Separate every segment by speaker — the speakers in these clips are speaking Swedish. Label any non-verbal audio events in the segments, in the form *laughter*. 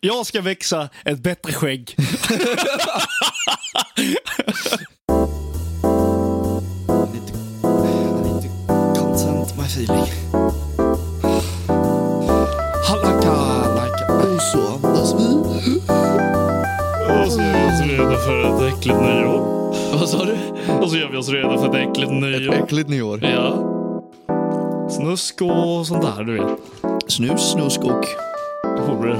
Speaker 1: Jag ska växa ett bättre skägg.
Speaker 2: Content my feeling. Halaka, halaka, och så andas vi.
Speaker 1: Och så är vi oss redo för ett äckligt nyår.
Speaker 2: Vad sa du?
Speaker 1: Och så gör vi oss redo för ett äckligt nyår.
Speaker 2: Äckligt nyår.
Speaker 1: Ja. Snusk och sånt där, du vet.
Speaker 2: Snus, snuskok.
Speaker 1: Horor.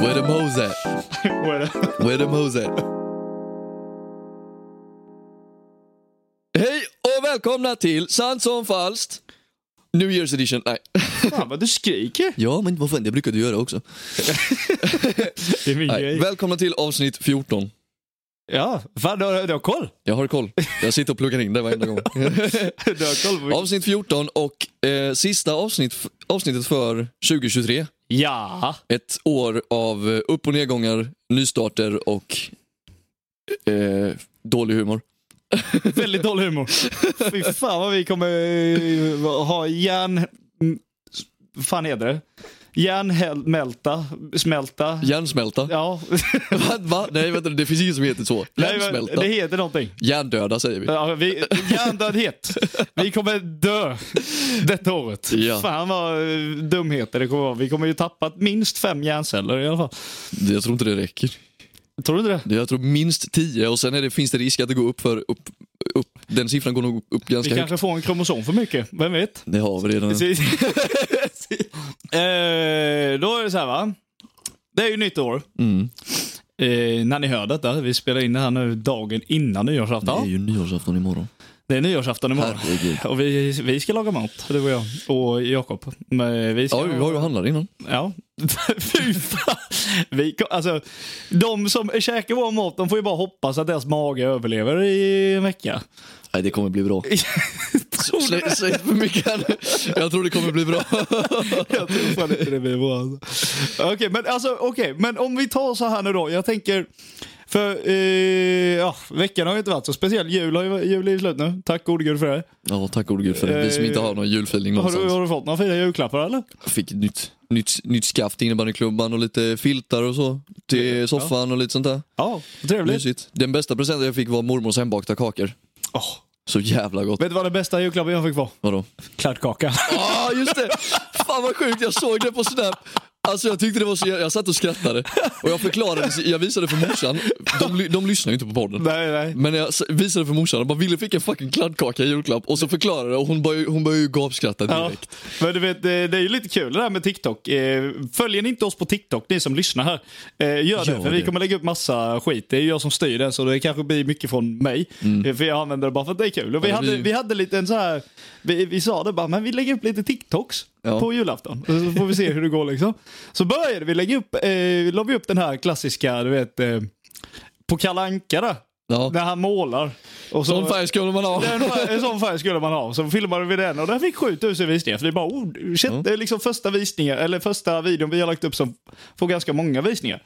Speaker 2: Where the mose at?
Speaker 1: Vad är det?
Speaker 2: Where the mose at? Hej och välkomna till Sant som falskt. New Year's edition. Nej.
Speaker 1: Fan vad du skriker.
Speaker 2: Ja, men vad fan, det brukar du göra också.
Speaker 1: Det är min
Speaker 2: Nej.
Speaker 1: grej.
Speaker 2: Välkomna till avsnitt 14.
Speaker 1: Ja, fan du har, du har koll.
Speaker 2: Jag har koll. Jag sitter och pluggar in det varenda gång. *laughs*
Speaker 1: Du har koll på vilken-
Speaker 2: Avsnitt 14 och eh, sista avsnitt, f- avsnittet för 2023.
Speaker 1: Ja.
Speaker 2: Ett år av eh, upp och nedgångar, nystarter och eh, dålig humor.
Speaker 1: Väldigt dålig humor. Fy fan vad vi kommer eh, ha järn... mm, Vad fan heter det? Järnmälta, smälta.
Speaker 2: Hjärnsmälta.
Speaker 1: Ja.
Speaker 2: *laughs* Va? Va? Nej, vänta, det finns inget som heter så.
Speaker 1: Nej, men *laughs*
Speaker 2: Hjärnsmälta.
Speaker 1: det heter någonting.
Speaker 2: Hjärndöda säger vi.
Speaker 1: Ja, vi, *laughs* hjärndödhet. Vi kommer dö detta året.
Speaker 2: Ja.
Speaker 1: Fan vad eh, dumheter det kommer vara. Vi kommer ju tappa minst fem hjärnceller i alla fall.
Speaker 2: Jag tror inte det räcker.
Speaker 1: Tror du inte det?
Speaker 2: Det- Jag tror minst 10 och sen är det, finns det risk att det går upp för upp, upp. Den siffran går nog upp
Speaker 1: Vi
Speaker 2: ganska högt.
Speaker 1: kanske får en kromosom för mycket. Vem vet?
Speaker 2: Det har vi redan.
Speaker 1: Precis. *laughs* eh, då är det så här va. Det är ju nytt år.
Speaker 2: Mm.
Speaker 1: Eh, när ni hör detta. Vi spelar in det här nu dagen innan
Speaker 2: Det är
Speaker 1: nyårsafton.
Speaker 2: ju nyårsafton imorgon.
Speaker 1: Det är nyårsafton imorgon.
Speaker 2: Herregud.
Speaker 1: Och vi, vi ska laga mat, du och jag. Och Jakob. Men Vi ska...
Speaker 2: Ja, vi har ju handlat innan.
Speaker 1: Ja. *laughs* Fy fan. Vi, kom- alltså, de som käkar vår mat de får ju bara hoppas att deras mage överlever i en vecka.
Speaker 2: Nej, det kommer bli bra. Slä,
Speaker 1: *laughs* Tror
Speaker 2: släpp för mycket. Jag tror det kommer
Speaker 1: *laughs*
Speaker 2: bli bra.
Speaker 1: *laughs* Jag tror fan inte det blir bra. alltså. Okej, men, alltså, okej, men om vi tar så här nu då. Jag tänker, för eh, ja, veckan har ju inte varit så speciell. Jul, har ju, jul är ju slut nu. Tack gode gud för det.
Speaker 2: Ja, tack gode gud för det. Vi som inte har någon julfeeling
Speaker 1: Har du,
Speaker 2: någonstans.
Speaker 1: har du fått några fina julklappar eller?
Speaker 2: Fick ett nytt, nytt, nytt skaft i innebandyklubban och lite filtar och så. Till soffan och lite sånt där.
Speaker 1: Ja, trevligt.
Speaker 2: Mysigt. Den bästa presenten jag fick var mormors hembakta kakor.
Speaker 1: Åh,
Speaker 2: Så jävla gott.
Speaker 1: vet du vad den bästa julklappen jag fick var?
Speaker 2: Vadå?
Speaker 1: Kladdkaka.
Speaker 2: Ja, just det! Fan vad sjukt, jag såg det på Snap. Alltså jag tyckte det var så jag, jag satt och skrattade. Och jag förklarade, jag visade för morsan. De, ly- de lyssnar ju inte på
Speaker 1: *laughs*
Speaker 2: podden.
Speaker 1: nej, nej.
Speaker 2: Men jag s- visade för morsan och bara ville fick en fucking kladdkaka i julklapp och så förklarade jag och hon började, hon började ju gapskratta
Speaker 1: Ja,
Speaker 2: direkt.
Speaker 1: men du vet, det det är ju lite kul det där med TikTok. Eh, Följer ni inte oss på TikTok, ni som lyssnar här, eh, gör det.
Speaker 2: Gör
Speaker 1: för vi
Speaker 2: det.
Speaker 1: kommer lägga upp massa skit. Det är jag som styr den, så det kanske blir mycket från mig. Eh, För jag använder det bara för att det är kul. Och vi,
Speaker 2: Mm. Ja, det
Speaker 1: hade,
Speaker 2: blir-
Speaker 1: vi hade lite en så här, vi, vi sa det bara, men vi lägger upp lite TikToks
Speaker 2: Ja.
Speaker 1: på julafton. Och Så får vi se hur det går liksom. Så började vi lägga upp, eh, la vi upp den här klassiska, du vet, eh, på Kalle Anka där.
Speaker 2: Ja.
Speaker 1: När han målar. Och så,
Speaker 2: Sån färg skulle man ha.
Speaker 1: den färg, en sån färg skulle man ha. Så filmade vi den och den fick 7000 visningar. För det är bara, oh, shit, det är liksom första visningar, eller första videon vi har lagt upp som får ganska många visningar.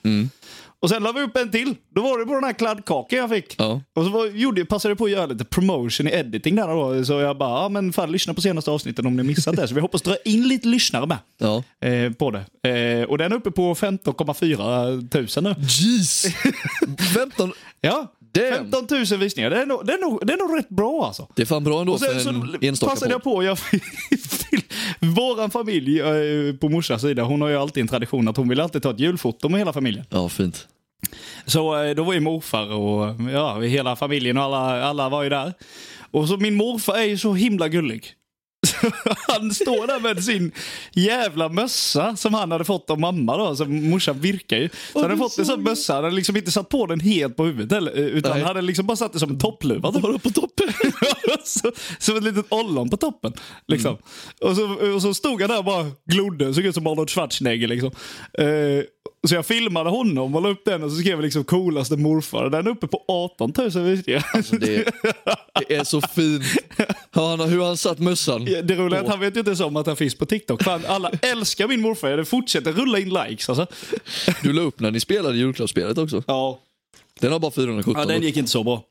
Speaker 1: Och sen la vi upp en till. Då var det på den här kladdkakan jag fick.
Speaker 2: Ja.
Speaker 1: Och så var, gjorde, passade jag på att göra lite promotion i editing där då. Så jag bara, ja men fan lyssna på senaste avsnitten om ni missat det. Så vi hoppas dra in lite lyssnare med.
Speaker 2: Ja.
Speaker 1: Eh, på det. Eh, och den är uppe på 15,4 tusen nu. *laughs*
Speaker 2: Jeez! 15,
Speaker 1: Ja,
Speaker 2: Damn.
Speaker 1: 15 000 visningar. Det är nog, det är nog, det är nog rätt bra alltså.
Speaker 2: det är fan bra ändå
Speaker 1: Och sen
Speaker 2: för
Speaker 1: så
Speaker 2: en
Speaker 1: passade
Speaker 2: enstaka
Speaker 1: jag
Speaker 2: på.
Speaker 1: på, jag *laughs* till våran familj eh, på morsans sida, hon har ju alltid en tradition att hon vill alltid ta ett julfoto med hela familjen.
Speaker 2: Ja, fint.
Speaker 1: Så eh, då var ju morfar och ja, hela familjen och alla, alla var ju där. Och så min morfar är ju så himla gullig. *laughs* Så Han står där med sin jävla mössa som han hade fått av mamma då, så morsan virkar ju. Så han hade fått en sån mössa, han hade liksom inte satt på den helt på huvudet heller, utan
Speaker 2: Nej.
Speaker 1: han hade liksom bara satt det som en toppluva.
Speaker 2: Vad var det på toppen?
Speaker 1: *laughs* så, som ett litet ollon på toppen. Liksom.
Speaker 2: Mm.
Speaker 1: Och, så, och så stod han där och bara glodde, såg ut som Arnold Schwarzenegger. Liksom. Eh, så jag filmade honom och la upp den och så skrev jag liksom coolaste morfar. Den är uppe på 18 000 visningar.
Speaker 2: Det, det är så fint. Hör han- Hur han satt mössan.
Speaker 1: Ja, *laughs* Det roliga är att han vet ju inte ens om att han finns på TikTok. Fan, alla älskar min morfar. Det fortsätter rulla in likes alltså.
Speaker 2: Du la upp när ni spelade julklappsspelet också.
Speaker 1: Ja,
Speaker 2: Den har bara 417.
Speaker 1: ja den gick inte så bra.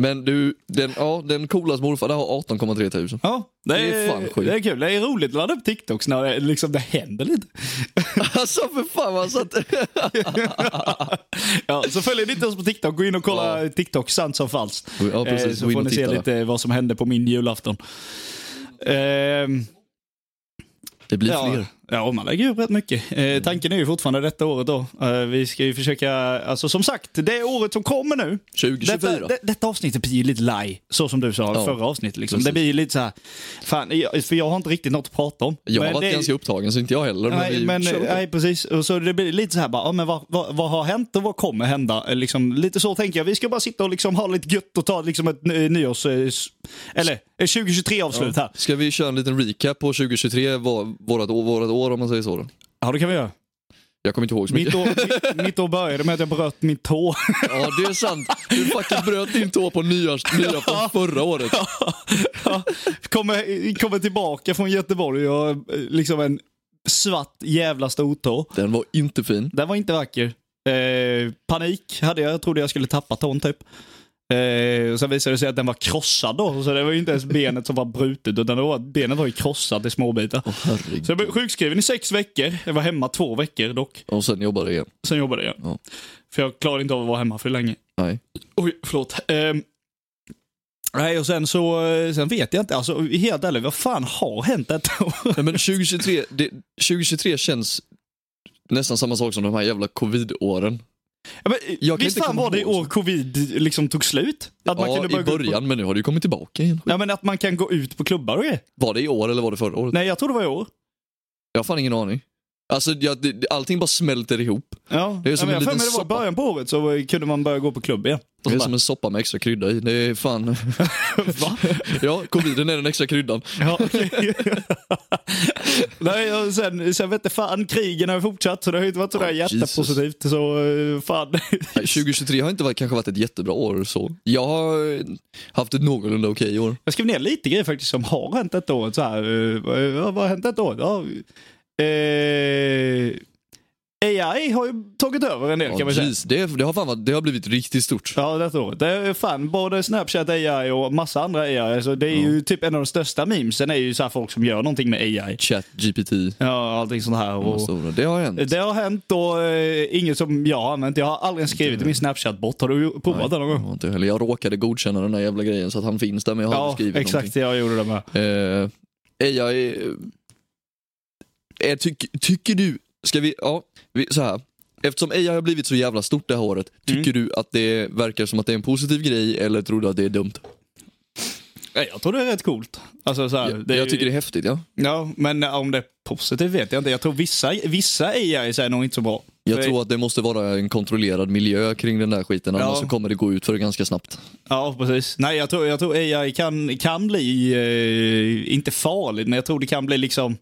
Speaker 2: Men du, den, ja, den coolaste morfar där har 18,3 tusen.
Speaker 1: Ja, det är,
Speaker 2: Det är fan sjukt.
Speaker 1: det är kul. Det är roligt att ladda upp TikToks när det, liksom, det händer lite.
Speaker 2: *laughs* Alltså för fan vad satt...
Speaker 1: *laughs* Ja, så följer ni inte oss på TikTok, gå in och kolla TikTok, sant som falskt.
Speaker 2: Ja, precis.
Speaker 1: Eh, så
Speaker 2: Gå in
Speaker 1: får
Speaker 2: och
Speaker 1: ni se
Speaker 2: titta där.
Speaker 1: lite vad som hände på min julafton. Ehm,
Speaker 2: Det blir
Speaker 1: ja,
Speaker 2: fler.
Speaker 1: ja, man lägger upp rätt mycket. Eh, tanken är ju fortfarande detta året då. Eh, vi ska ju försöka, alltså som sagt, det året som kommer nu.
Speaker 2: 2024.
Speaker 1: Detta, det, detta avsnittet blir ju lite laj, så som du sa
Speaker 2: Ja,
Speaker 1: förra avsnittet. Liksom.
Speaker 2: precis.
Speaker 1: Det blir ju lite så här, fan, jag, för jag har inte riktigt något att prata om.
Speaker 2: jag har
Speaker 1: Men
Speaker 2: varit
Speaker 1: det-
Speaker 2: ganska upptagen så inte jag heller. Men
Speaker 1: Nej,
Speaker 2: vi
Speaker 1: men,
Speaker 2: kör på.
Speaker 1: nej, precis. Och så det blir lite så här bara, ja, men vad, vad, vad har hänt och vad kommer hända? Eh, Liksom, lite så tänker jag. Vi ska bara sitta och liksom ha lite gött och ta liksom ett eh, nyårs... eh, s- Eller 2023-avslut här.
Speaker 2: Ska vi köra en liten recap på 2023, vad, vårat, år, vårat år om man säger så? Då?
Speaker 1: Ja, det kan vi göra.
Speaker 2: Jag kommer inte ihåg så mycket.
Speaker 1: Mitt år, mitt, mitt år började med att jag bröt min tå. *laughs*
Speaker 2: Ja, det är sant. Du fucking bröt din tå på nyårs, *laughs* nyårsafton förra året.
Speaker 1: Kommer, kommer tillbaka från Göteborg och eh, liksom en svart jävla stortå.
Speaker 2: Den var inte fin.
Speaker 1: Den var inte vacker. Eh, panik hade jag. Jag trodde jag skulle tappa tån typ. Eh, och sen visade det sig att den var krossad då. Så det var ju inte ens benet som var brutet. Utan det var, benet var ju krossat i små bitar.
Speaker 2: Herregud.
Speaker 1: Så jag blev sjukskriven i sex veckor. Jag var hemma två veckor dock.
Speaker 2: Och sen jobbade jag igen.
Speaker 1: Sen jobbade jag.
Speaker 2: Ja.
Speaker 1: För jag klarade inte av att vara hemma för länge.
Speaker 2: Nej.
Speaker 1: Oj, förlåt. Ehm, nej, och sen så eh, sen vet jag inte. Alltså helt ärligt, vad fan har hänt detta år?
Speaker 2: Nej, men 2023, det, 2023 känns nästan samma sak som de här jävla covid-åren.
Speaker 1: Ja, men, eh,
Speaker 2: Jag
Speaker 1: *laughs*
Speaker 2: kan
Speaker 1: Visst
Speaker 2: inte
Speaker 1: fan
Speaker 2: komma
Speaker 1: var det i
Speaker 2: ihåg
Speaker 1: år covid liksom tog slut? Att
Speaker 2: Ja,
Speaker 1: kunde
Speaker 2: i
Speaker 1: börja gå ut på-
Speaker 2: början, men nu har det ju kommit tillbaka igen.
Speaker 1: Ja, men att man kan gå ut på klubbar och grejer.
Speaker 2: Var det i år eller var det förra året?
Speaker 1: Nej, jag tror det var i år.
Speaker 2: Jag har fan ingen aning. Alltså, jag, det, det- allting bara smälter ihop.
Speaker 1: Ja.
Speaker 2: Det är som
Speaker 1: ja, men
Speaker 2: en
Speaker 1: jag har för
Speaker 2: liten
Speaker 1: mig det var i
Speaker 2: soppa.
Speaker 1: början på året så var- kunde man börja gå på klubb igen.
Speaker 2: Det är som en soppa med extra krydda i. Det är fan...
Speaker 1: *laughs* Va?
Speaker 2: *laughs* Ja, coviden är den extra kryddan.
Speaker 1: Ja, okej. *laughs* Nej, och sen, sen vet jag fan, krigen har ju fortsatt så det har ju inte varit sådär
Speaker 2: Ja,
Speaker 1: jättepositivt. Så eh, fan. *laughs*
Speaker 2: Nej, 2023 har inte varit, kanske varit ett jättebra år så. Jag har eh, haft ett någorlunda okej år.
Speaker 1: Jag skrev ner lite grejer faktiskt som har hänt detta året. Så här, eh, vad, vad har hänt detta året? Ja, eh, AI har ju tagit över en del kan man
Speaker 2: Ja,
Speaker 1: säga.
Speaker 2: precis. det, det, har fan varit, det har blivit riktigt stort.
Speaker 1: Ja, detta året. Det är fan både Snapchat AI och massa andra AI. Alltså, det är ju typ en av de största memesen är ju så här folk som gör någonting med AI.
Speaker 2: Chat, GPT.
Speaker 1: Ja, allting sånt här.
Speaker 2: de
Speaker 1: Och...
Speaker 2: stora. Det har hänt.
Speaker 1: Det har hänt och eh, inget som jag har använt. Jag har aldrig ens skrivit i min Snapchat-bot. Har du ju provat den någon
Speaker 2: Jag
Speaker 1: gång?
Speaker 2: har inte heller. Jag råkade godkänna den där jävla grejen så att han finns där men jag har
Speaker 1: Ja,
Speaker 2: inte skrivit
Speaker 1: exakt.
Speaker 2: någonting.
Speaker 1: Jag gjorde det med.
Speaker 2: Eh, AI... eh, eh, tyck, tycker du... Ska vi... Ja, vi, så här. Eftersom AI har blivit så jävla stort det här året,
Speaker 1: Mm.
Speaker 2: tycker du att det verkar som att det är en positiv grej eller tror du att det är dumt?
Speaker 1: Nej, Jag tror det är rätt coolt. Alltså, så här,
Speaker 2: jag
Speaker 1: det är
Speaker 2: jag
Speaker 1: ju-
Speaker 2: tycker det är häftigt ja.
Speaker 1: Ja, men om det är positivt vet jag inte. Jag tror vissa, vissa AI är nog inte så bra.
Speaker 2: Jag
Speaker 1: För-
Speaker 2: tror att det måste vara en kontrollerad miljö kring den där skiten,
Speaker 1: Ja.
Speaker 2: annars så kommer det gå ut för det ganska snabbt.
Speaker 1: Ja, precis. Nej, jag tror, jag tror AI kan, kan bli, eh, inte farligt, men jag tror det kan bli liksom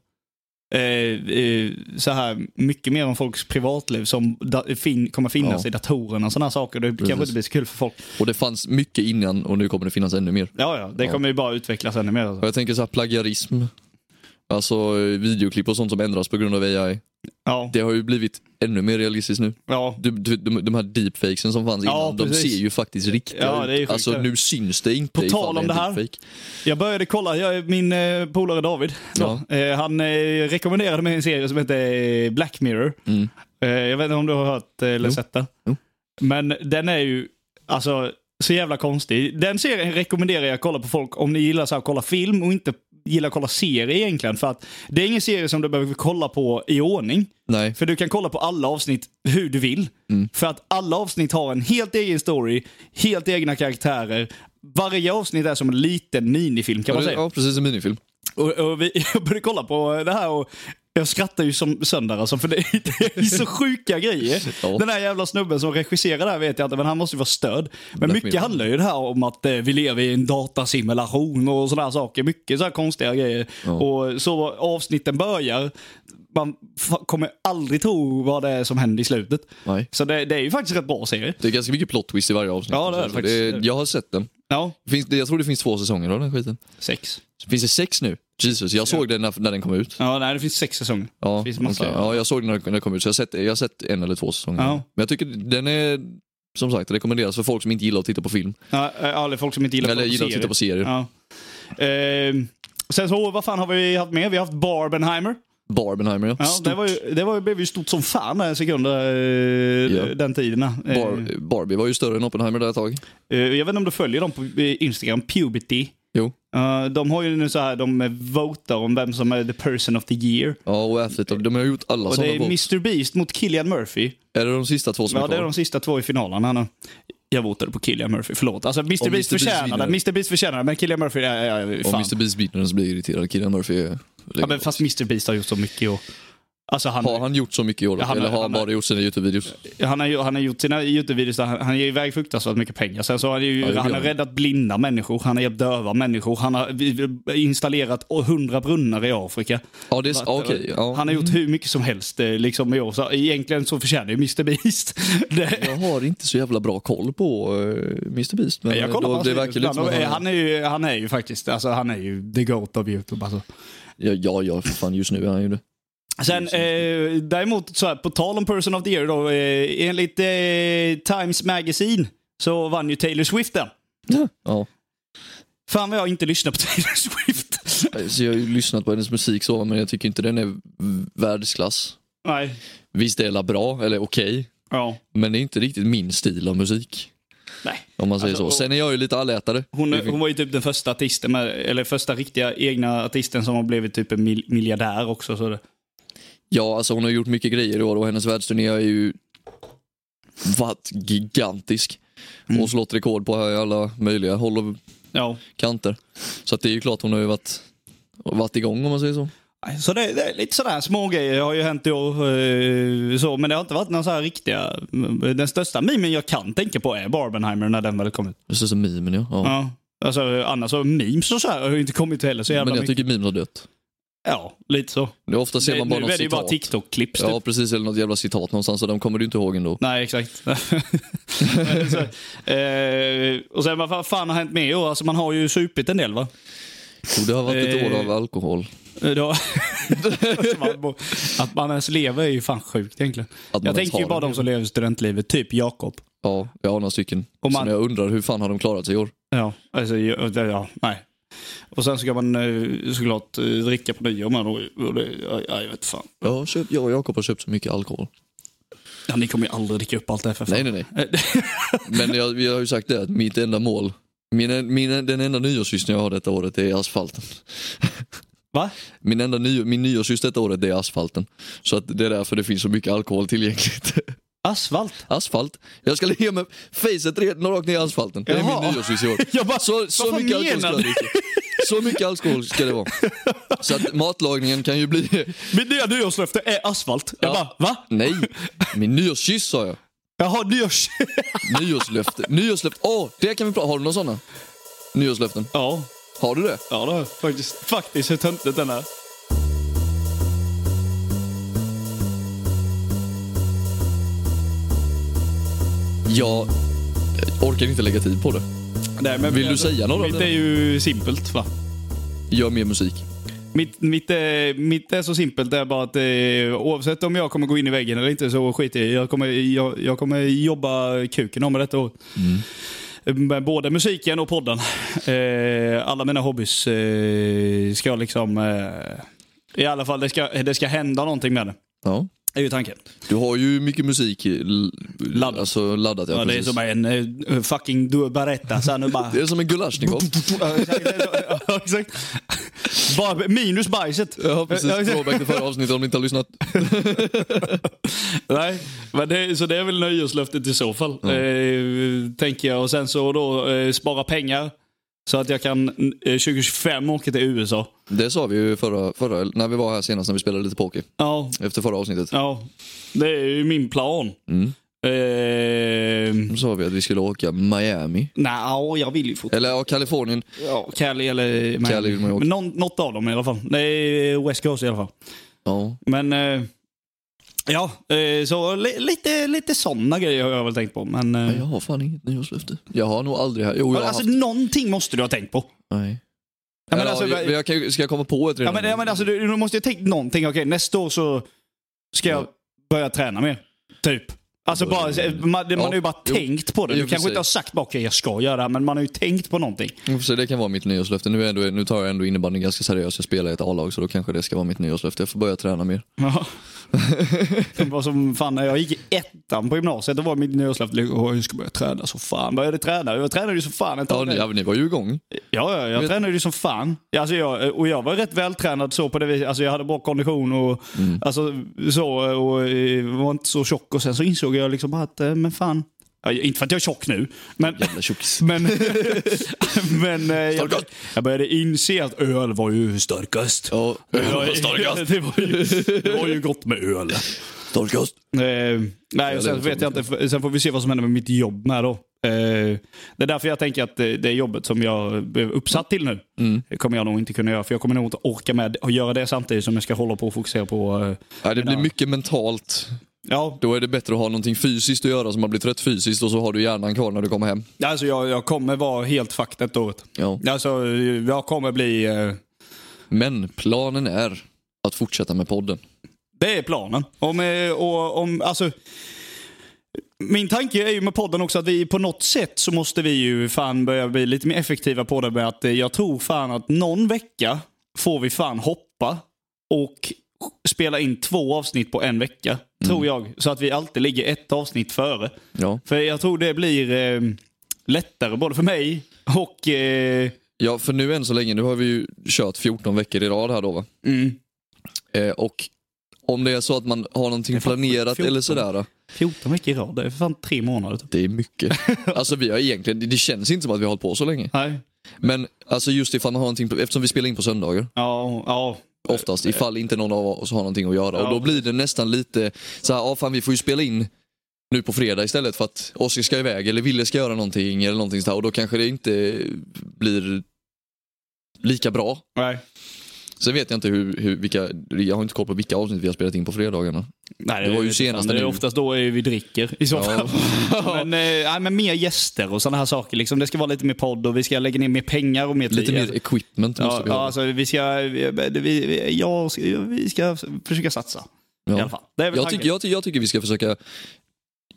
Speaker 1: eh, eh, så här mycket mer om folks privatliv som da, fin, kommer finnas
Speaker 2: Ja.
Speaker 1: i datorerna och sådana saker. Det kanske inte blir så kul för folk.
Speaker 2: Och det fanns mycket innan och nu kommer det finnas ännu mer.
Speaker 1: Ja, ja, det kommer ju bara utvecklas ännu mer. Alltså.
Speaker 2: Och jag tänker så här plagiarism, alltså eh, videoklipp och sånt som ändras på grund av AI.
Speaker 1: Ja,
Speaker 2: Det har ju blivit ännu mer realistiskt nu.
Speaker 1: ja.
Speaker 2: Du, du, de, de här deepfakesen som fanns
Speaker 1: Ja,
Speaker 2: innan, de
Speaker 1: precis.
Speaker 2: ser ju faktiskt riktiga
Speaker 1: Ja, det är ju
Speaker 2: ut. Alltså
Speaker 1: sjukt.
Speaker 2: nu syns det inte
Speaker 1: På
Speaker 2: ifall
Speaker 1: tal om
Speaker 2: är en
Speaker 1: det här.
Speaker 2: deepfake.
Speaker 1: Jag började kolla, jag, min eh, polare David, då, eh, han eh, rekommenderade mig en serie som heter eh, Black Mirror.
Speaker 2: Mm.
Speaker 1: Eh, jag vet inte om du har hört eh, eller
Speaker 2: Jo.
Speaker 1: sett den.
Speaker 2: Jo.
Speaker 1: Men den är ju alltså så jävla konstig. Den serien rekommenderar jag att kolla på folk om ni gillar så här, att kolla film och inte gillar att kolla serie egentligen. För att det är ingen serie som du behöver kolla på i ordning.
Speaker 2: Nej, Mm.
Speaker 1: För du kan kolla på alla avsnitt hur du vill. För att alla avsnitt har en helt egen story, helt egna karaktärer. Varje avsnitt är som en liten minifilm kan man
Speaker 2: ja, det-
Speaker 1: säga.
Speaker 2: ja, precis en minifilm.
Speaker 1: Och, och vi, *laughs* jag började kolla på det här och jag skrattar ju som sönder alltså, för det *laughs* är, det är så sjuka grejer.
Speaker 2: Ja.
Speaker 1: Den här jävla snubben som regisserar det här vet jag inte, men han måste ju vara stöd. Men
Speaker 2: Black
Speaker 1: mycket
Speaker 2: Mirror.
Speaker 1: handlar ju det här om att eh, vi lever i en datasimulation och sådana saker. Mycket så här konstiga grejer. Och så avsnitten börjar, man fa- kommer aldrig tro vad det är som händer i slutet.
Speaker 2: Nej.
Speaker 1: Så det, det är ju faktiskt rätt bra serie.
Speaker 2: Det är ganska mycket plot twist i varje avsnitt.
Speaker 1: Ja, det är det
Speaker 2: Så
Speaker 1: faktiskt.
Speaker 2: Jag har sett den.
Speaker 1: Ja,
Speaker 2: Finns, det- jag tror det finns två säsonger av den skiten.
Speaker 1: sex.
Speaker 2: Finns det sex nu? Jesus, jag såg den när, när den kom ut.
Speaker 1: Ja, nej, det finns sex säsonger.
Speaker 2: Ja,
Speaker 1: det finns massa.
Speaker 2: okej. ja, jag såg den när den kom ut, så jag har sett, jag har sett en eller två säsonger.
Speaker 1: Ja.
Speaker 2: Men jag tycker den är som sagt rekommenderas för folk som inte gillar att titta på film.
Speaker 1: Ja, eh, eller folk som inte gillar
Speaker 2: Eller
Speaker 1: att
Speaker 2: gillar
Speaker 1: kolla
Speaker 2: att
Speaker 1: på
Speaker 2: titta på
Speaker 1: serier.
Speaker 2: serier.
Speaker 1: Ja. Eh, sen så, vad fan har vi haft med? Vi har haft Barbenheimer.
Speaker 2: Barbenheimer, ja.
Speaker 1: Ja,
Speaker 2: Stort.
Speaker 1: det, var ju, det var ju, blev ju stort som fan den sekunden, eh,
Speaker 2: Ja.
Speaker 1: den tiden. eh.
Speaker 2: Bar- Barbie var ju större än Oppenheimer där ett tag.
Speaker 1: Eh, jag vet inte om du följer dem på eh, Instagram, Puberty.
Speaker 2: Jo.
Speaker 1: Eh, de har ju nu så här, de eh, votar om vem som är the person of the year.
Speaker 2: Ja, och Athlete, de har gjort alla
Speaker 1: Och
Speaker 2: sådana
Speaker 1: det
Speaker 2: är,
Speaker 1: är Mr Beast mot Killian Murphy.
Speaker 2: är det de sista två som
Speaker 1: Ja,
Speaker 2: är
Speaker 1: det
Speaker 2: kvar?
Speaker 1: är de sista två i finalen. Han har... Jag votade på Killian Murphy, förlåt. Alltså Mr Beast,
Speaker 2: Mr. Beast
Speaker 1: förtjänar det.
Speaker 2: vinner.
Speaker 1: Mr Beast förtjänar det, men Killian Murphy, ja, ja, ja,
Speaker 2: Om
Speaker 1: fan.
Speaker 2: Mr Beast biter den så blir jag irriterad. Killian Murphy är...
Speaker 1: Ja, men fast Mr Beast har gjort så mycket och... Alltså han,
Speaker 2: Har
Speaker 1: han...
Speaker 2: han gjort så mycket i år?
Speaker 1: Ja, han-
Speaker 2: Eller har han
Speaker 1: han-
Speaker 2: bara gjort sina Youtube-videos?
Speaker 1: har, ju- han har gjort sina Youtube-videos där han, han ger iväg fruktansvärt mycket pengar. Sen så har han, ju,
Speaker 2: Ja, det blir
Speaker 1: han har
Speaker 2: han.
Speaker 1: räddat blinda människor, han har hjälpt döva människor, han har vi- vi- installerat hundra brunnar i Afrika.
Speaker 2: Ja, det är... ja, Okej, ja.
Speaker 1: Han har gjort hur mycket som helst eh, liksom, i år. Så egentligen så förtjänar ju Mr Beast *laughs* det.
Speaker 2: Jag har inte så jävla bra koll på eh, Mr Beast. Men
Speaker 1: Jag kollar på
Speaker 2: då,
Speaker 1: hans
Speaker 2: det
Speaker 1: videos
Speaker 2: verkar lite
Speaker 1: ibland
Speaker 2: som
Speaker 1: och,
Speaker 2: att han...
Speaker 1: eh, han, är ju, han är ju faktiskt, alltså han är ju the GOAT av YouTube. Alltså.
Speaker 2: Ja, ja, ja, för fan just nu är han ju det.
Speaker 1: Sen eh, däremot, så här, på tal om Person of the Year då, eh, enligt eh, Times Magazine så vann ju Taylor Swift den.
Speaker 2: Ja.
Speaker 1: Fan vad jag inte lyssnar på Taylor *laughs* Swift.
Speaker 2: Så jag har ju lyssnat på hennes musik så, men jag tycker inte den är världsklass.
Speaker 1: Nej.
Speaker 2: Visst är det bra, eller okej,
Speaker 1: Ja.
Speaker 2: men det är inte riktigt min stil av musik.
Speaker 1: Nej.
Speaker 2: Om man säger
Speaker 1: Alltså,
Speaker 2: så.
Speaker 1: och-
Speaker 2: Sen är jag ju lite allätare.
Speaker 1: Hon,
Speaker 2: Det är-
Speaker 1: hon var ju typ den första artisten, med, eller första riktiga egna artisten som har blivit typ en mil- miljardär också. Så det,
Speaker 2: Ja, alltså hon har gjort mycket grejer i år och hennes världsturné är ju vad gigantisk.
Speaker 1: Mm.
Speaker 2: Och slått rekord på alla möjliga håll och
Speaker 1: ja.
Speaker 2: kanter. Så att det är ju klart hon har ju varit, varit igång om man säger så.
Speaker 1: Så det, det är lite sådär små grejer har ju hänt i år. eh, Så, men det har inte varit några så här riktiga... mm, Den största memen jag kan tänka på är Barbenheimer när den väl kom ut.
Speaker 2: Det ser som mimen ja. ja.
Speaker 1: Ja. Alltså, annars har memes och så här har ju inte kommit heller så jävla
Speaker 2: Men jag
Speaker 1: mycket.
Speaker 2: tycker mimen har dött.
Speaker 1: Ja, lite så.
Speaker 2: Det, ofta ser
Speaker 1: Det,
Speaker 2: man
Speaker 1: nu
Speaker 2: bara
Speaker 1: är
Speaker 2: något
Speaker 1: det ju
Speaker 2: citat.
Speaker 1: bara TikTok-klipps.
Speaker 2: ja,
Speaker 1: Typ.
Speaker 2: precis. Eller något jävla citat någonstans och de kommer du inte ihåg ändå.
Speaker 1: Nej, exakt. *laughs* Men så, eh, och sen vad fan har hänt med i år? Alltså, man har ju supit en del va?
Speaker 2: Jo, det har varit ett
Speaker 1: Eh.
Speaker 2: år av alkohol.
Speaker 1: Eh, Då, Alltså, man må- att man ens lever är ju fan sjukt egentligen.
Speaker 2: man
Speaker 1: Jag
Speaker 2: ens
Speaker 1: tänker ju
Speaker 2: har
Speaker 1: bara
Speaker 2: det.
Speaker 1: de som lever studentlivet, typ Jakob.
Speaker 2: Ja, jag har några stycken.
Speaker 1: Och man-
Speaker 2: Som jag undrar hur fan har de klarat sig i år?
Speaker 1: Ja, alltså, ja, ja, ja, nej. Och sen ska man eh, såklart eh, dricka på nyår med och, och det, ja, ja, jag vet fan.
Speaker 2: Jag, har köpt, jag och Jakob har köpt så mycket alkohol.
Speaker 1: Ja, ni kommer ju aldrig dricka upp allt det här för fan.
Speaker 2: Nej, nej, nej.
Speaker 1: *laughs*
Speaker 2: Men jag, vi har ju sagt det, att mitt enda mål, min, min, den enda nyårskyss jag har detta året är asfalten.
Speaker 1: Va?
Speaker 2: Min enda ny, min nyårskyss detta året det är asfalten. Så att det är därför det finns så mycket alkohol tillgängligt. *laughs*
Speaker 1: Asfalt?
Speaker 2: Asfalt. Jag ska ligga med facet red- rakt ner i asfalten. Det är
Speaker 1: Jaha.
Speaker 2: min
Speaker 1: *laughs*
Speaker 2: nyårskyss i år.
Speaker 1: Jag bara,
Speaker 2: Så, så
Speaker 1: vad
Speaker 2: mycket alkohol
Speaker 1: menar
Speaker 2: ska jag
Speaker 1: du?
Speaker 2: dricka. Så mycket alkohol ska det vara. Så att matlagningen kan ju bli... *laughs*
Speaker 1: Mitt nya nyårslöfte är asfalt. Jag
Speaker 2: Ja.
Speaker 1: bara, va?
Speaker 2: Nej, min nyårskyss sa jag.
Speaker 1: Jaha, nyårs... *laughs*
Speaker 2: Nyårslöfte. Nyårslöfte. Åh, det kan vi prata Har du några sådana? Nyårslöften.
Speaker 1: ja,
Speaker 2: Har du det?
Speaker 1: ja det har jag faktiskt. Faktiskt, hur töntigt den är.
Speaker 2: Jag orkar inte lägga tid på det.
Speaker 1: Nej, men
Speaker 2: Vill du säga något om
Speaker 1: Mitt
Speaker 2: det?
Speaker 1: är ju simpelt va?
Speaker 2: Gör mer musik.
Speaker 1: Mitt, mitt, eh, mitt är så simpelt, det är bara att eh, oavsett om jag kommer gå in i väggen eller inte så skiter jag i. jag kommer, jag, jag kommer jobba kuken om med detta året.
Speaker 2: Mm.
Speaker 1: Med både musiken och podden. Eh, alla mina hobbys eh, ska liksom... Eh, I alla fall, det ska, det ska hända någonting med det.
Speaker 2: Ja.
Speaker 1: Är ju tanken.
Speaker 2: Du har ju mycket musik l-
Speaker 1: Laddat.
Speaker 2: Alltså, laddat ja,
Speaker 1: Ja, det är
Speaker 2: precis.
Speaker 1: som en eh, fucking du berättar sen nu bara...
Speaker 2: det är som
Speaker 1: *laughs*
Speaker 2: en gulaschnikov.
Speaker 1: Ja, exakt. Ja, exakt. Bara minus bajset.
Speaker 2: Ja, precis.
Speaker 1: Ja, exakt.
Speaker 2: Throwback till förra avsnittet om ni inte har lyssnat.
Speaker 1: Nej, men det, så det är väl nöjeslöftet i så fall. Eh, tänker jag. Och sen så då eh, spara pengar. Så att jag kan eh, 2025 åka till USA.
Speaker 2: Det sa vi ju förra, förra, när vi var här senast när vi spelade lite poker.
Speaker 1: Ja,
Speaker 2: Efter förra avsnittet.
Speaker 1: ja. Det är ju min plan.
Speaker 2: Mm.
Speaker 1: Eh,
Speaker 2: Då sa vi att vi skulle åka Miami.
Speaker 1: Nej, ja, jag vill ju fortfarande.
Speaker 2: Eller ja, Kalifornien.
Speaker 1: Ja, Cali eller Miami.
Speaker 2: Cali vill man ju åka.
Speaker 1: Men någon, något av dem i alla fall. Det är West Coast i alla fall.
Speaker 2: Ja.
Speaker 1: Men eh, ja, eh, så li, lite, lite sådana grejer har jag väl tänkt på. Men, eh,
Speaker 2: Nej, jag har fan inget nyårslöfte. Jag har nog aldrig här. Jo, jag har
Speaker 1: alltså,
Speaker 2: haft.
Speaker 1: någonting måste du ha tänkt på.
Speaker 2: Nej.
Speaker 1: Ja, men
Speaker 2: Eller,
Speaker 1: alltså,
Speaker 2: ja, jag, jag kan, ska jag komma på ett
Speaker 1: Ja,
Speaker 2: redan?
Speaker 1: men, ja, men alltså, du, du måste ju ha tänkt någonting. Okej, nästa år så ska jag
Speaker 2: Ja.
Speaker 1: börja träna mer. Typ. Alltså bara, man, man
Speaker 2: Ja,
Speaker 1: har ju bara
Speaker 2: jo.
Speaker 1: tänkt på det. Du
Speaker 2: Jo,
Speaker 1: kanske inte har
Speaker 2: precis.
Speaker 1: sagt bara okej jag ska göra det här, men man har ju tänkt på någonting.
Speaker 2: Vi får se, det kan vara mitt nyårslöfte. Nu, är ändå, nu tar jag ändå innebandyn ganska seriöst. Jag spelar i ett A-lag så då kanske det ska vara mitt nyårslöfte. Jag får börja träna mer.
Speaker 1: *laughs* Ja. Det var som fan när jag gick i ettan på gymnasiet, då var mitt nyårslöfte "Åh, jag ska börja träna så fan. Började träna, jag tränade ju så fan ett
Speaker 2: Ja,
Speaker 1: tag.
Speaker 2: ni,
Speaker 1: Ja,
Speaker 2: ja, ni var ju igång.
Speaker 1: ja, jag tränade ju som fan. Alltså jag, och jag var rätt vältränad så på det viset. Alltså jag hade bra kondition och
Speaker 2: Mm.
Speaker 1: alltså, så och eh, var inte så tjock. Och sen så insåg jag liksom bara att, eh, men fan. Ja, inte för att jag är tjock nu, men
Speaker 2: Jävla
Speaker 1: *laughs*
Speaker 2: tjockis.
Speaker 1: men, men eh, jag,
Speaker 2: Starkast.
Speaker 1: jag började inse att öl var ju starkast.
Speaker 2: *laughs* Ja,
Speaker 1: Ja, *laughs* det, var ju, det var ju gott med öl.
Speaker 2: Starkast.
Speaker 1: Eh, nej, och sen,
Speaker 2: det
Speaker 1: vet jag inte, sen får vi se vad som händer med mitt jobb med då. Eh, det är därför jag tänker att det, det jobbet som jag blev uppsatt till nu, det kommer jag nog inte kunna göra. För jag kommer nog inte orka med att göra det samtidigt som jag ska hålla på och fokusera på... Eh,
Speaker 2: Ja, det blir mycket mentalt.
Speaker 1: ja,
Speaker 2: Då är det bättre att ha någonting fysiskt att göra så man blir trött fysiskt och så har du hjärnan kvar när du kommer hem.
Speaker 1: alltså jag, jag kommer vara helt fucked ett året.
Speaker 2: Ja.
Speaker 1: Alltså, jag kommer bli... Eh,
Speaker 2: Men planen är att fortsätta med podden.
Speaker 1: Det är planen. Om, eh, och, om, alltså, min tanke är ju med podden också att vi på något sätt så måste vi ju fan börja bli lite mer effektiva på det med att eh, jag tror fan att någon vecka får vi fan hoppa och spela in två avsnitt på en vecka. Tror jag. Så att vi alltid ligger ett avsnitt före.
Speaker 2: Ja.
Speaker 1: För jag tror det blir eh, lättare både för mig och... Eh,
Speaker 2: ja, för nu än så länge, nu har vi ju kört 14 veckor i rad här då va?
Speaker 1: mm,
Speaker 2: Eh, och om det är så att man har någonting
Speaker 1: fan
Speaker 2: planerat
Speaker 1: 14.
Speaker 2: eller sådär.
Speaker 1: fjorton veckor i rad, det är för fan tre månader typ.
Speaker 2: Det
Speaker 1: *laughs*
Speaker 2: är mycket. Alltså vi har egentligen, det känns inte som att vi har hållit på så länge.
Speaker 1: Nej.
Speaker 2: Men alltså just ifall man har någonting, eftersom vi spelar in på söndagar
Speaker 1: Ja, ja.
Speaker 2: oftast, ifall inte någon av oss har någonting att göra.
Speaker 1: Ja.
Speaker 2: Och då blir det nästan lite så här, ja fan vi får ju spela in nu på fredag istället för att Oskar ska iväg eller Ville ska göra någonting eller någonting så här, och då kanske det inte blir lika bra.
Speaker 1: Nej.
Speaker 2: Sen vet jag inte hur, hur vilka, jag har inte koll på vilka avsnitt vi har spelat in på fredagarna.
Speaker 1: Nej,
Speaker 2: Det
Speaker 1: vet
Speaker 2: var ju
Speaker 1: jag inte.
Speaker 2: senaste
Speaker 1: Det är
Speaker 2: nu.
Speaker 1: oftast då är vi dricker i så
Speaker 2: *laughs*
Speaker 1: fall. men, eh, nej, men mer gäster och sådana här saker. Liksom. Det ska vara lite mer podd och vi ska lägga ner mer pengar och mer
Speaker 2: Lite
Speaker 1: tid.
Speaker 2: mer equipment måste
Speaker 1: Ja,
Speaker 2: vi
Speaker 1: ja,
Speaker 2: ha.
Speaker 1: alltså, vi ska, vi, vi, vi, jag, ska- vi ska försöka satsa.
Speaker 2: Ja.
Speaker 1: I alla fall. Det är väl
Speaker 2: jag,
Speaker 1: tanken.
Speaker 2: tycker, jag, ty- jag tycker vi ska försöka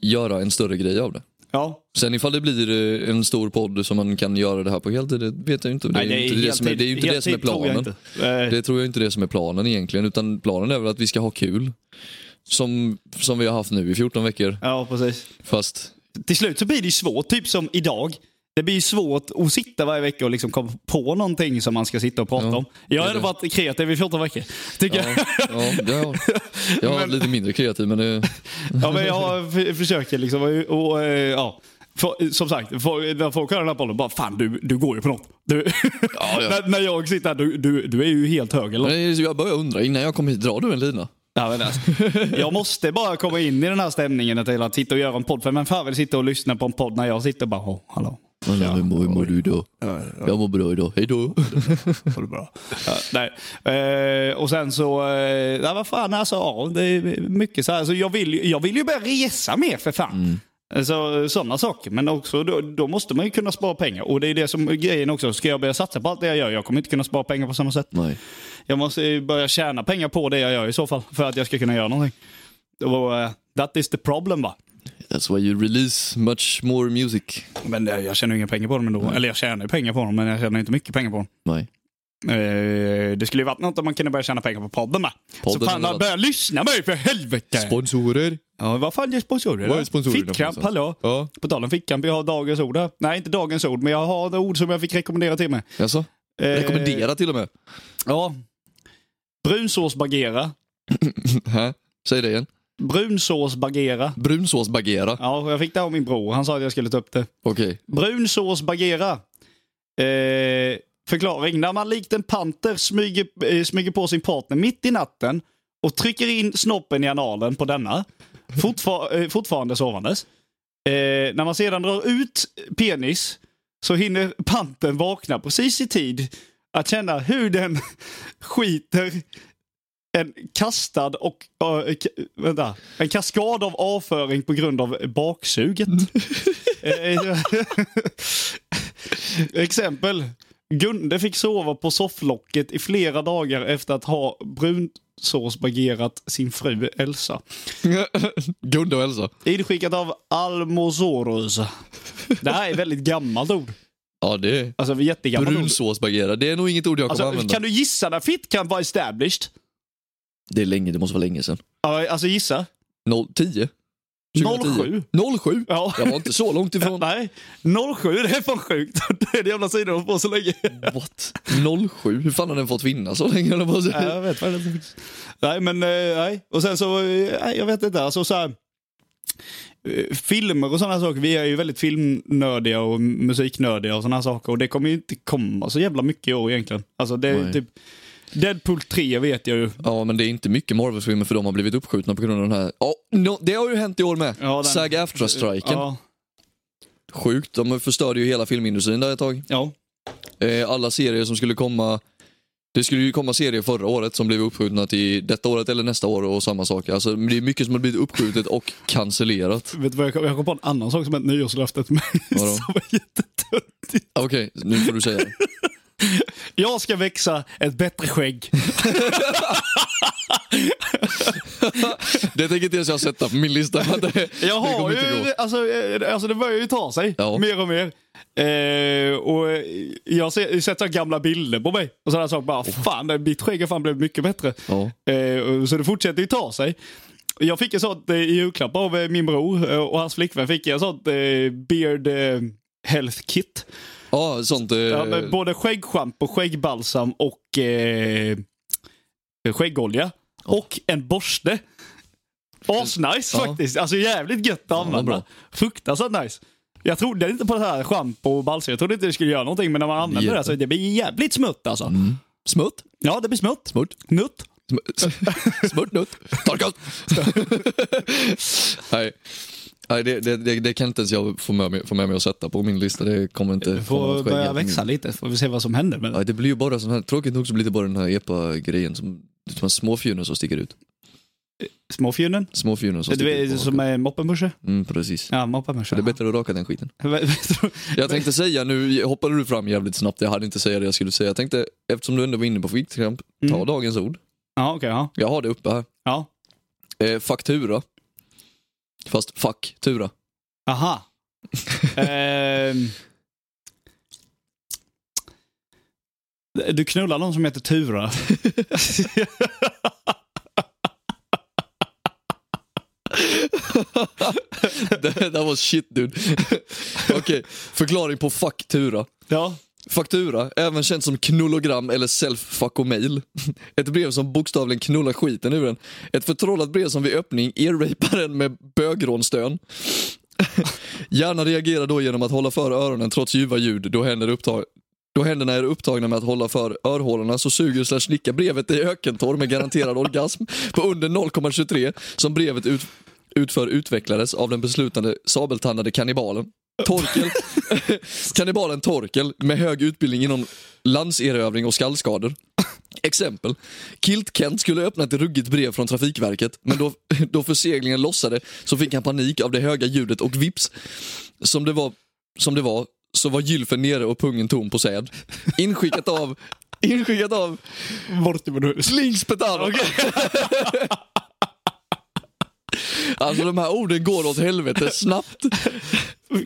Speaker 2: göra en större grej av det.
Speaker 1: Ja.
Speaker 2: Sen ifall det blir eh, en stor podd som man kan göra det här på heltid, det vet jag inte. Det är
Speaker 1: Nej,
Speaker 2: ju inte det som är- det är ju inte det som är
Speaker 1: heltid typ, tror jag
Speaker 2: planen.
Speaker 1: inte. Eh,
Speaker 2: Det tror jag inte det som är planen egentligen, utan planen är väl att vi ska ha kul. Som, som vi har haft nu i 14 veckor,
Speaker 1: Ja, precis.
Speaker 2: fast
Speaker 1: Till slut så blir det ju svårt, typ som idag. Det blir ju svårt att sitta varje vecka och liksom komma på någonting som man ska sitta och prata
Speaker 2: Ja,
Speaker 1: om. Jag har
Speaker 2: det är
Speaker 1: ändå varit kreativ i 14 veckor. Tycker jag.
Speaker 2: ja, ja, ja, jag har varit lite mindre kreativ men eh, det,
Speaker 1: Ja, men jag f- försöker liksom. Och, och, eh, ja. För, som sagt, för, när folk hör den här bollen, bara fan du, du går ju på något. Du,
Speaker 2: Ja,
Speaker 1: *laughs*
Speaker 2: ja.
Speaker 1: när, när jag sitter här, du, du, du är ju helt hög. Eller?
Speaker 2: men
Speaker 1: något.
Speaker 2: det är- jag börjar undra, innan jag kom hit, drar du en lina?
Speaker 1: Ja, men alltså, jag måste bara komma in i den här stämningen till att sitta och göra en podd. För vem fan vill sitta och lyssna på en podd när jag sitter och bara, oh, hallå.
Speaker 2: Ja. Hur, mår, hur mår du idag? Jag mår bra idag, hejdå.
Speaker 1: Har du bra? Ja, nej. Eh, och sen så, eh, ja, vad fan alltså, ja, det är mycket så här. Alltså, jag, vill, ju- jag vill ju börja resa mer för fan. Alltså, sådana saker. Men också då, då måste man ju kunna spara pengar. Och det är det som är grejen också. Ska jag börja satsa på allt det jag gör? Jag kommer inte kunna spara pengar på samma sätt.
Speaker 2: Nej.
Speaker 1: Jag måste ju börja tjäna pengar på det jag gör i så fall. För att jag ska kunna göra någonting. Och, eh, that is the problem va.
Speaker 2: That's why you release much more music.
Speaker 1: Men eh, jag tjänar ju inga pengar på dem ändå. Eller jag tjänar ju pengar på dem, men jag tjänar inte mycket pengar på dem.
Speaker 2: Nej.
Speaker 1: Eh, det skulle ju varit något om man kunde börja tjäna pengar på podden med.
Speaker 2: Podden
Speaker 1: så fan,
Speaker 2: eller något.
Speaker 1: börja lyssna mig för helvete!
Speaker 2: Sponsorer.
Speaker 1: ja, vad fan är sponsorer?
Speaker 2: Vad är sponsorerna
Speaker 1: Fickkramp,
Speaker 2: för någonstans?
Speaker 1: hallå?
Speaker 2: Ja.
Speaker 1: På tal om fickkramp, jag har dagens ord här. Nej, inte dagens ord, men jag har det ord som jag fick rekommendera till mig.
Speaker 2: Jaså?
Speaker 1: Eh,
Speaker 2: Rekommendera till och med.
Speaker 1: Ja. Brunsås bagera.
Speaker 2: Hä? Säg det igen.
Speaker 1: Brunsås bagera.
Speaker 2: Brunsås bagera.
Speaker 1: Ja, jag fick det av min bror. Han sa att jag skulle ta upp det.
Speaker 2: Okej. *laughs*
Speaker 1: Brunsås bagera. Eh, förklaring. När man likt en panter smyger, eh, smyger på sin partner mitt i natten och trycker in snoppen i analen på denna, fortfar eh, fortfarande sovandes. Eh, när man sedan drar ut penis så hinner panten vakna precis i tid att känna hur den *laughs* skiter en kastad och... eh, k- vänta. En kaskad av avföring på grund av baksuget. Eh, *laughs* Exempel. Gunde fick sova på sofflocket i flera dagar efter att ha brun så spargerat sin fru Elsa.
Speaker 2: Gunde och Elsa.
Speaker 1: Inskickat av Almosorus. Det här är väldigt gammalt ord.
Speaker 2: Ja, det är
Speaker 1: Alltså jättegammalt ord.
Speaker 2: brunsåsbagera. Det är nog inget ord jag kommer
Speaker 1: Alltså,
Speaker 2: använda.
Speaker 1: kan du gissa när fitt kan vara established?
Speaker 2: Det är länge, det måste vara länge sedan.
Speaker 1: Ja, Alltså gissa.
Speaker 2: 010?
Speaker 1: 07.
Speaker 2: 07?
Speaker 1: Ja.
Speaker 2: Jag var inte så långt
Speaker 1: *laughs*
Speaker 2: ifrån.
Speaker 1: Nej, 07, det är fan sjukt. *laughs* Det är den jävla sidan de får så länge.
Speaker 2: What? 07? Hur fan har den fått finnas så länge? höll jag på att
Speaker 1: Nej,
Speaker 2: säga.
Speaker 1: jag vet vad det är. Nej, men eh, nej. Och sen så, eh, nej, jag vet inte. Alltså så här, eh, filmer och sådana saker. Vi är ju väldigt filmnördiga och musiknördiga och sådana saker. Och det kommer ju inte komma så jävla mycket i år egentligen. Alltså det är
Speaker 2: Nej.
Speaker 1: typ Deadpool 3 vet jag ju.
Speaker 2: Ja, men det är inte mycket Marvel-filmer för de har blivit uppskjutna på grund av den här. Ja, no, det har ju hänt i år med.
Speaker 1: Ja, den-
Speaker 2: SAG-AFTRA-striken.
Speaker 1: Ja,
Speaker 2: Sjukt, de förstörde ju hela filmindustrin där ett tag.
Speaker 1: ja.
Speaker 2: Eh, alla serier som skulle komma det skulle ju komma serier förra året som blev uppskjutna till detta året eller nästa år och samma sak. Alltså, det är mycket som har blivit uppskjutet och cancellerat.
Speaker 1: Vet du vad jag kom, jag kom på en annan sak som är ett nyårslöfte *laughs* till mig.
Speaker 2: Vadå?
Speaker 1: Som är jättetöntigt.
Speaker 2: Okej, nu får du
Speaker 1: *laughs*
Speaker 2: säga det.
Speaker 1: Jag ska växa ett bättre skägg.
Speaker 2: Det tänker inte ens jag sätta på min lista. men Det,
Speaker 1: *laughs* Jag
Speaker 2: det
Speaker 1: har
Speaker 2: kommer inte
Speaker 1: ju,
Speaker 2: gå.
Speaker 1: alltså, eh, alltså det börjar ju ta sig
Speaker 2: Ja.
Speaker 1: mer och mer. Eh, och eh, jag ser, jag har sett så här gamla bilder på mig och sådana saker. Bara, fan, det- mitt skägg har fan blivit mycket bättre.
Speaker 2: Oh. Ja.
Speaker 1: Eh, och så det fortsätter ju ta sig. Jag fick ett sånt eh, i julklapp av eh, min bror eh, och hans flickvän fick jag ett sånt eh, beard eh, health kit.
Speaker 2: Ja, sånt. Eh,
Speaker 1: Ja, med både skäggschampo, skäggbalsam och eh, skäggolja. Och en borste. Asnice
Speaker 2: Ja.
Speaker 1: faktiskt. Alltså jävligt gött att
Speaker 2: vad
Speaker 1: använda.
Speaker 2: bra.
Speaker 1: Fruktansvärt nice. Jag trodde inte på det här schampo och balsam. Jag trodde inte det skulle göra någonting. Men när man använder det så det blir jävligt smutt alltså.
Speaker 2: Mm. Smutt.
Speaker 1: Ja, det blir smutt.
Speaker 2: Smutt.
Speaker 1: Nutt.
Speaker 2: Sm- *laughs* Smörtnutt.
Speaker 1: *laughs*
Speaker 2: Torkat. Nej, Nej det, det, det, det kan inte ens jag få med, mig, få med mig att sätta på min lista. Det kommer inte...
Speaker 1: Vi
Speaker 2: komma
Speaker 1: får
Speaker 2: något skägg Mm.
Speaker 1: börja
Speaker 2: helt
Speaker 1: växa lite. Får vi se vad som händer. Men...
Speaker 2: Ja, det blir ju bara sån här, tråkigt nog så blir det bara den här epa-grejen som, som en småfjunor som sticker ut.
Speaker 1: Småfjunen.
Speaker 2: Småfjunor som
Speaker 1: Du
Speaker 2: sticker ut.
Speaker 1: är
Speaker 2: på
Speaker 1: som
Speaker 2: hakan.
Speaker 1: är moppenbusche.
Speaker 2: Mm, precis.
Speaker 1: Ja, moppenbusche.
Speaker 2: Så det är bättre att raka den skiten. Jag tänkte säga, nu hoppade du fram jävligt snabbt, jag hade inte säga det jag skulle säga. Jag tänkte, eftersom du ändå var inne på fickramp, ta
Speaker 1: Mm.
Speaker 2: dagens ord.
Speaker 1: Ja, okej. ja.
Speaker 2: Jag har det uppe här.
Speaker 1: ja.
Speaker 2: Eh, faktura. Fast faktura. *laughs*
Speaker 1: *laughs* Aha. Ehm. Du knullar någon som heter Tura.
Speaker 2: That that was shit dude. *laughs* Okej, förklaring på faktura.
Speaker 1: ja.
Speaker 2: Faktura, även känt som knullogram eller self-fuckomail. Ett brev som bokstavligen knullar skiten ur en. Ett förtrollat brev som vid öppning ear-rapar en med bögrånstön. Hjärnan reagerar då genom att hålla för öronen trots ljuva ljud då, händer upptag- då händerna är upptagna med att hålla för örhålorna så suger slash slickar brevet i ökentorr med garanterad orgasm på under 0,23 som brevet ut- utför utvecklades av den beslutande sabeltandade kannibalen. Torkel. Kannibalen Torkel med hög utbildning inom landserövring och skallskador. Exempel. Kilt-Kent skulle öppna ett ruggigt brev från Trafikverket, men då, *laughs* då förseglingen lossade så fick han panik av det höga ljudet och vips, som det var, som det var så var gylfen nere och pungen tom på säd. Inskickat av, *laughs* inskickat av
Speaker 1: Bort med du.
Speaker 2: Slings Petaro. *laughs* Alltså de här orden går åt helvete snabbt.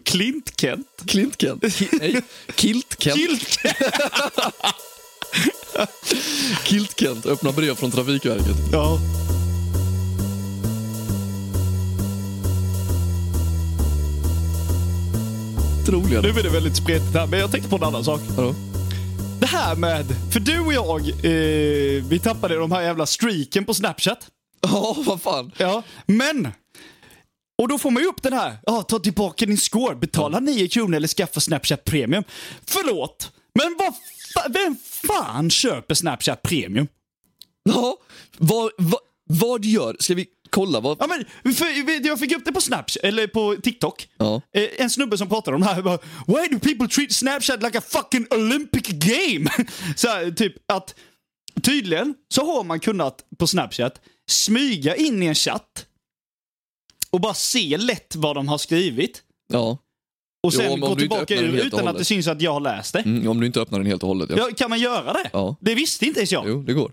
Speaker 1: Klint-Kent. *laughs*
Speaker 2: Klintkent? Ki- nej, Kiltkent.
Speaker 1: Kilt-Kent.
Speaker 2: Kiltkent öppnar brev från Trafikverket.
Speaker 1: Ja.
Speaker 2: Troligen.
Speaker 1: Nu är det väldigt spretigt här, men jag tänkte på en annan sak.
Speaker 2: Vadå?
Speaker 1: Det här med, för du och jag, eh, vi tappade de här jävla streaken på Snapchat.
Speaker 2: Ja, vad fan.
Speaker 1: Ja, men. Och då får man ju upp den här. Ja, ta tillbaka din score. Betala 9 kronor eller skaffa Snapchat Premium. Förlåt, men vad fa- vem fan köper Snapchat Premium?
Speaker 2: Ja, vad, vad, vad gör... Ska vi kolla vad...
Speaker 1: Ja, men för, jag fick upp det på Snapchat, eller på TikTok.
Speaker 2: Ja.
Speaker 1: Eh, En snubbe som pratade om det här bara, Why do people treat Snapchat like a fucking Olympic game? *laughs* Så här, typ att tydligen så har man kunnat på Snapchat smyga in i en chatt och bara se lätt vad de har skrivit.
Speaker 2: ja.
Speaker 1: Och sen
Speaker 2: Jo, om-
Speaker 1: gå
Speaker 2: om du inte
Speaker 1: tillbaka
Speaker 2: öppnar den
Speaker 1: ur
Speaker 2: helt och
Speaker 1: utan att
Speaker 2: hållet.
Speaker 1: det syns att jag har läst det.
Speaker 2: Mm, om du inte öppnar den helt och hållet. Ja.
Speaker 1: Ja, kan man göra det?
Speaker 2: Ja.
Speaker 1: Det visste inte ens jag.
Speaker 2: Jo, det går.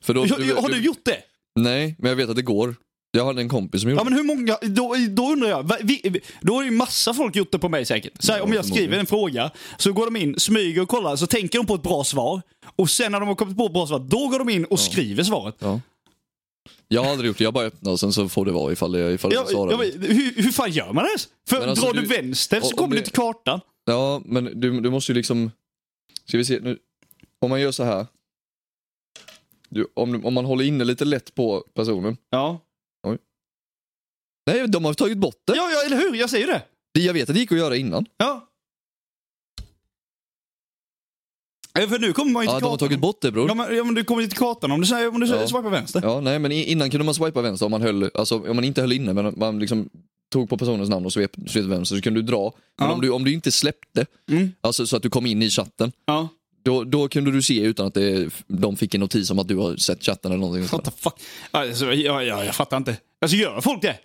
Speaker 2: För då,
Speaker 1: Har, har du gjort det?
Speaker 2: Nej, men jag vet att det går. Jag hade en kompis som gjorde
Speaker 1: Ja men hur många, då, då undrar jag. va- Vi, då har ju massa folk gjort det på mig säkert. Så här,
Speaker 2: Ja,
Speaker 1: om jag skriver
Speaker 2: förmodligen.
Speaker 1: en fråga så går de in, smyger och kollar, så tänker de på ett bra svar. Och sen när de har kommit på ett bra svar, då går de in och skriver svaret.
Speaker 2: det. Ja. Jag har aldrig gjort det, jag bara öppnar och sen så får det vara ifall, det, ifall
Speaker 1: Jag,
Speaker 2: jag svarar.
Speaker 1: jag, vet- hur, hur fan gör man ens? För
Speaker 2: Men alltså,
Speaker 1: drar du,
Speaker 2: du-
Speaker 1: vänster så
Speaker 2: om
Speaker 1: kommer du
Speaker 2: det-
Speaker 1: till kartan.
Speaker 2: Ja, men du, du måste ju liksom... Ska vi se, nu, om man gör så här. Du, om, om man håller inne lite lätt på personen.
Speaker 1: Ja.
Speaker 2: Nej, de har tagit bort det.
Speaker 1: Ja, ja, eller hur? Jag säger det.
Speaker 2: Det- Jag vet att det gick att göra innan.
Speaker 1: Ja. Eh, För nu kommer man ju till
Speaker 2: Ja, de har
Speaker 1: kartan.
Speaker 2: tagit bort det bror.
Speaker 1: Ja, men, ja, men du kommer ju till kartan om du, säger- om du
Speaker 2: Ja.
Speaker 1: swipar vänster.
Speaker 2: Ja, nej, men i- innan kunde man swipa vänster om man höll, alltså om man inte höll inne, men om man liksom tog på personens namn och svep, svep vänster så kunde du dra. Men
Speaker 1: Ja.
Speaker 2: om, du, om du inte släppte,
Speaker 1: Mm.
Speaker 2: alltså så att du kom in i chatten,
Speaker 1: Ja.
Speaker 2: då, då kunde du se utan att det, de fick en notis om att du har sett chatten eller någonting.
Speaker 1: What
Speaker 2: sådär.
Speaker 1: the fuck? Alltså, jag, jag, jag fattar inte. Alltså gör folk det?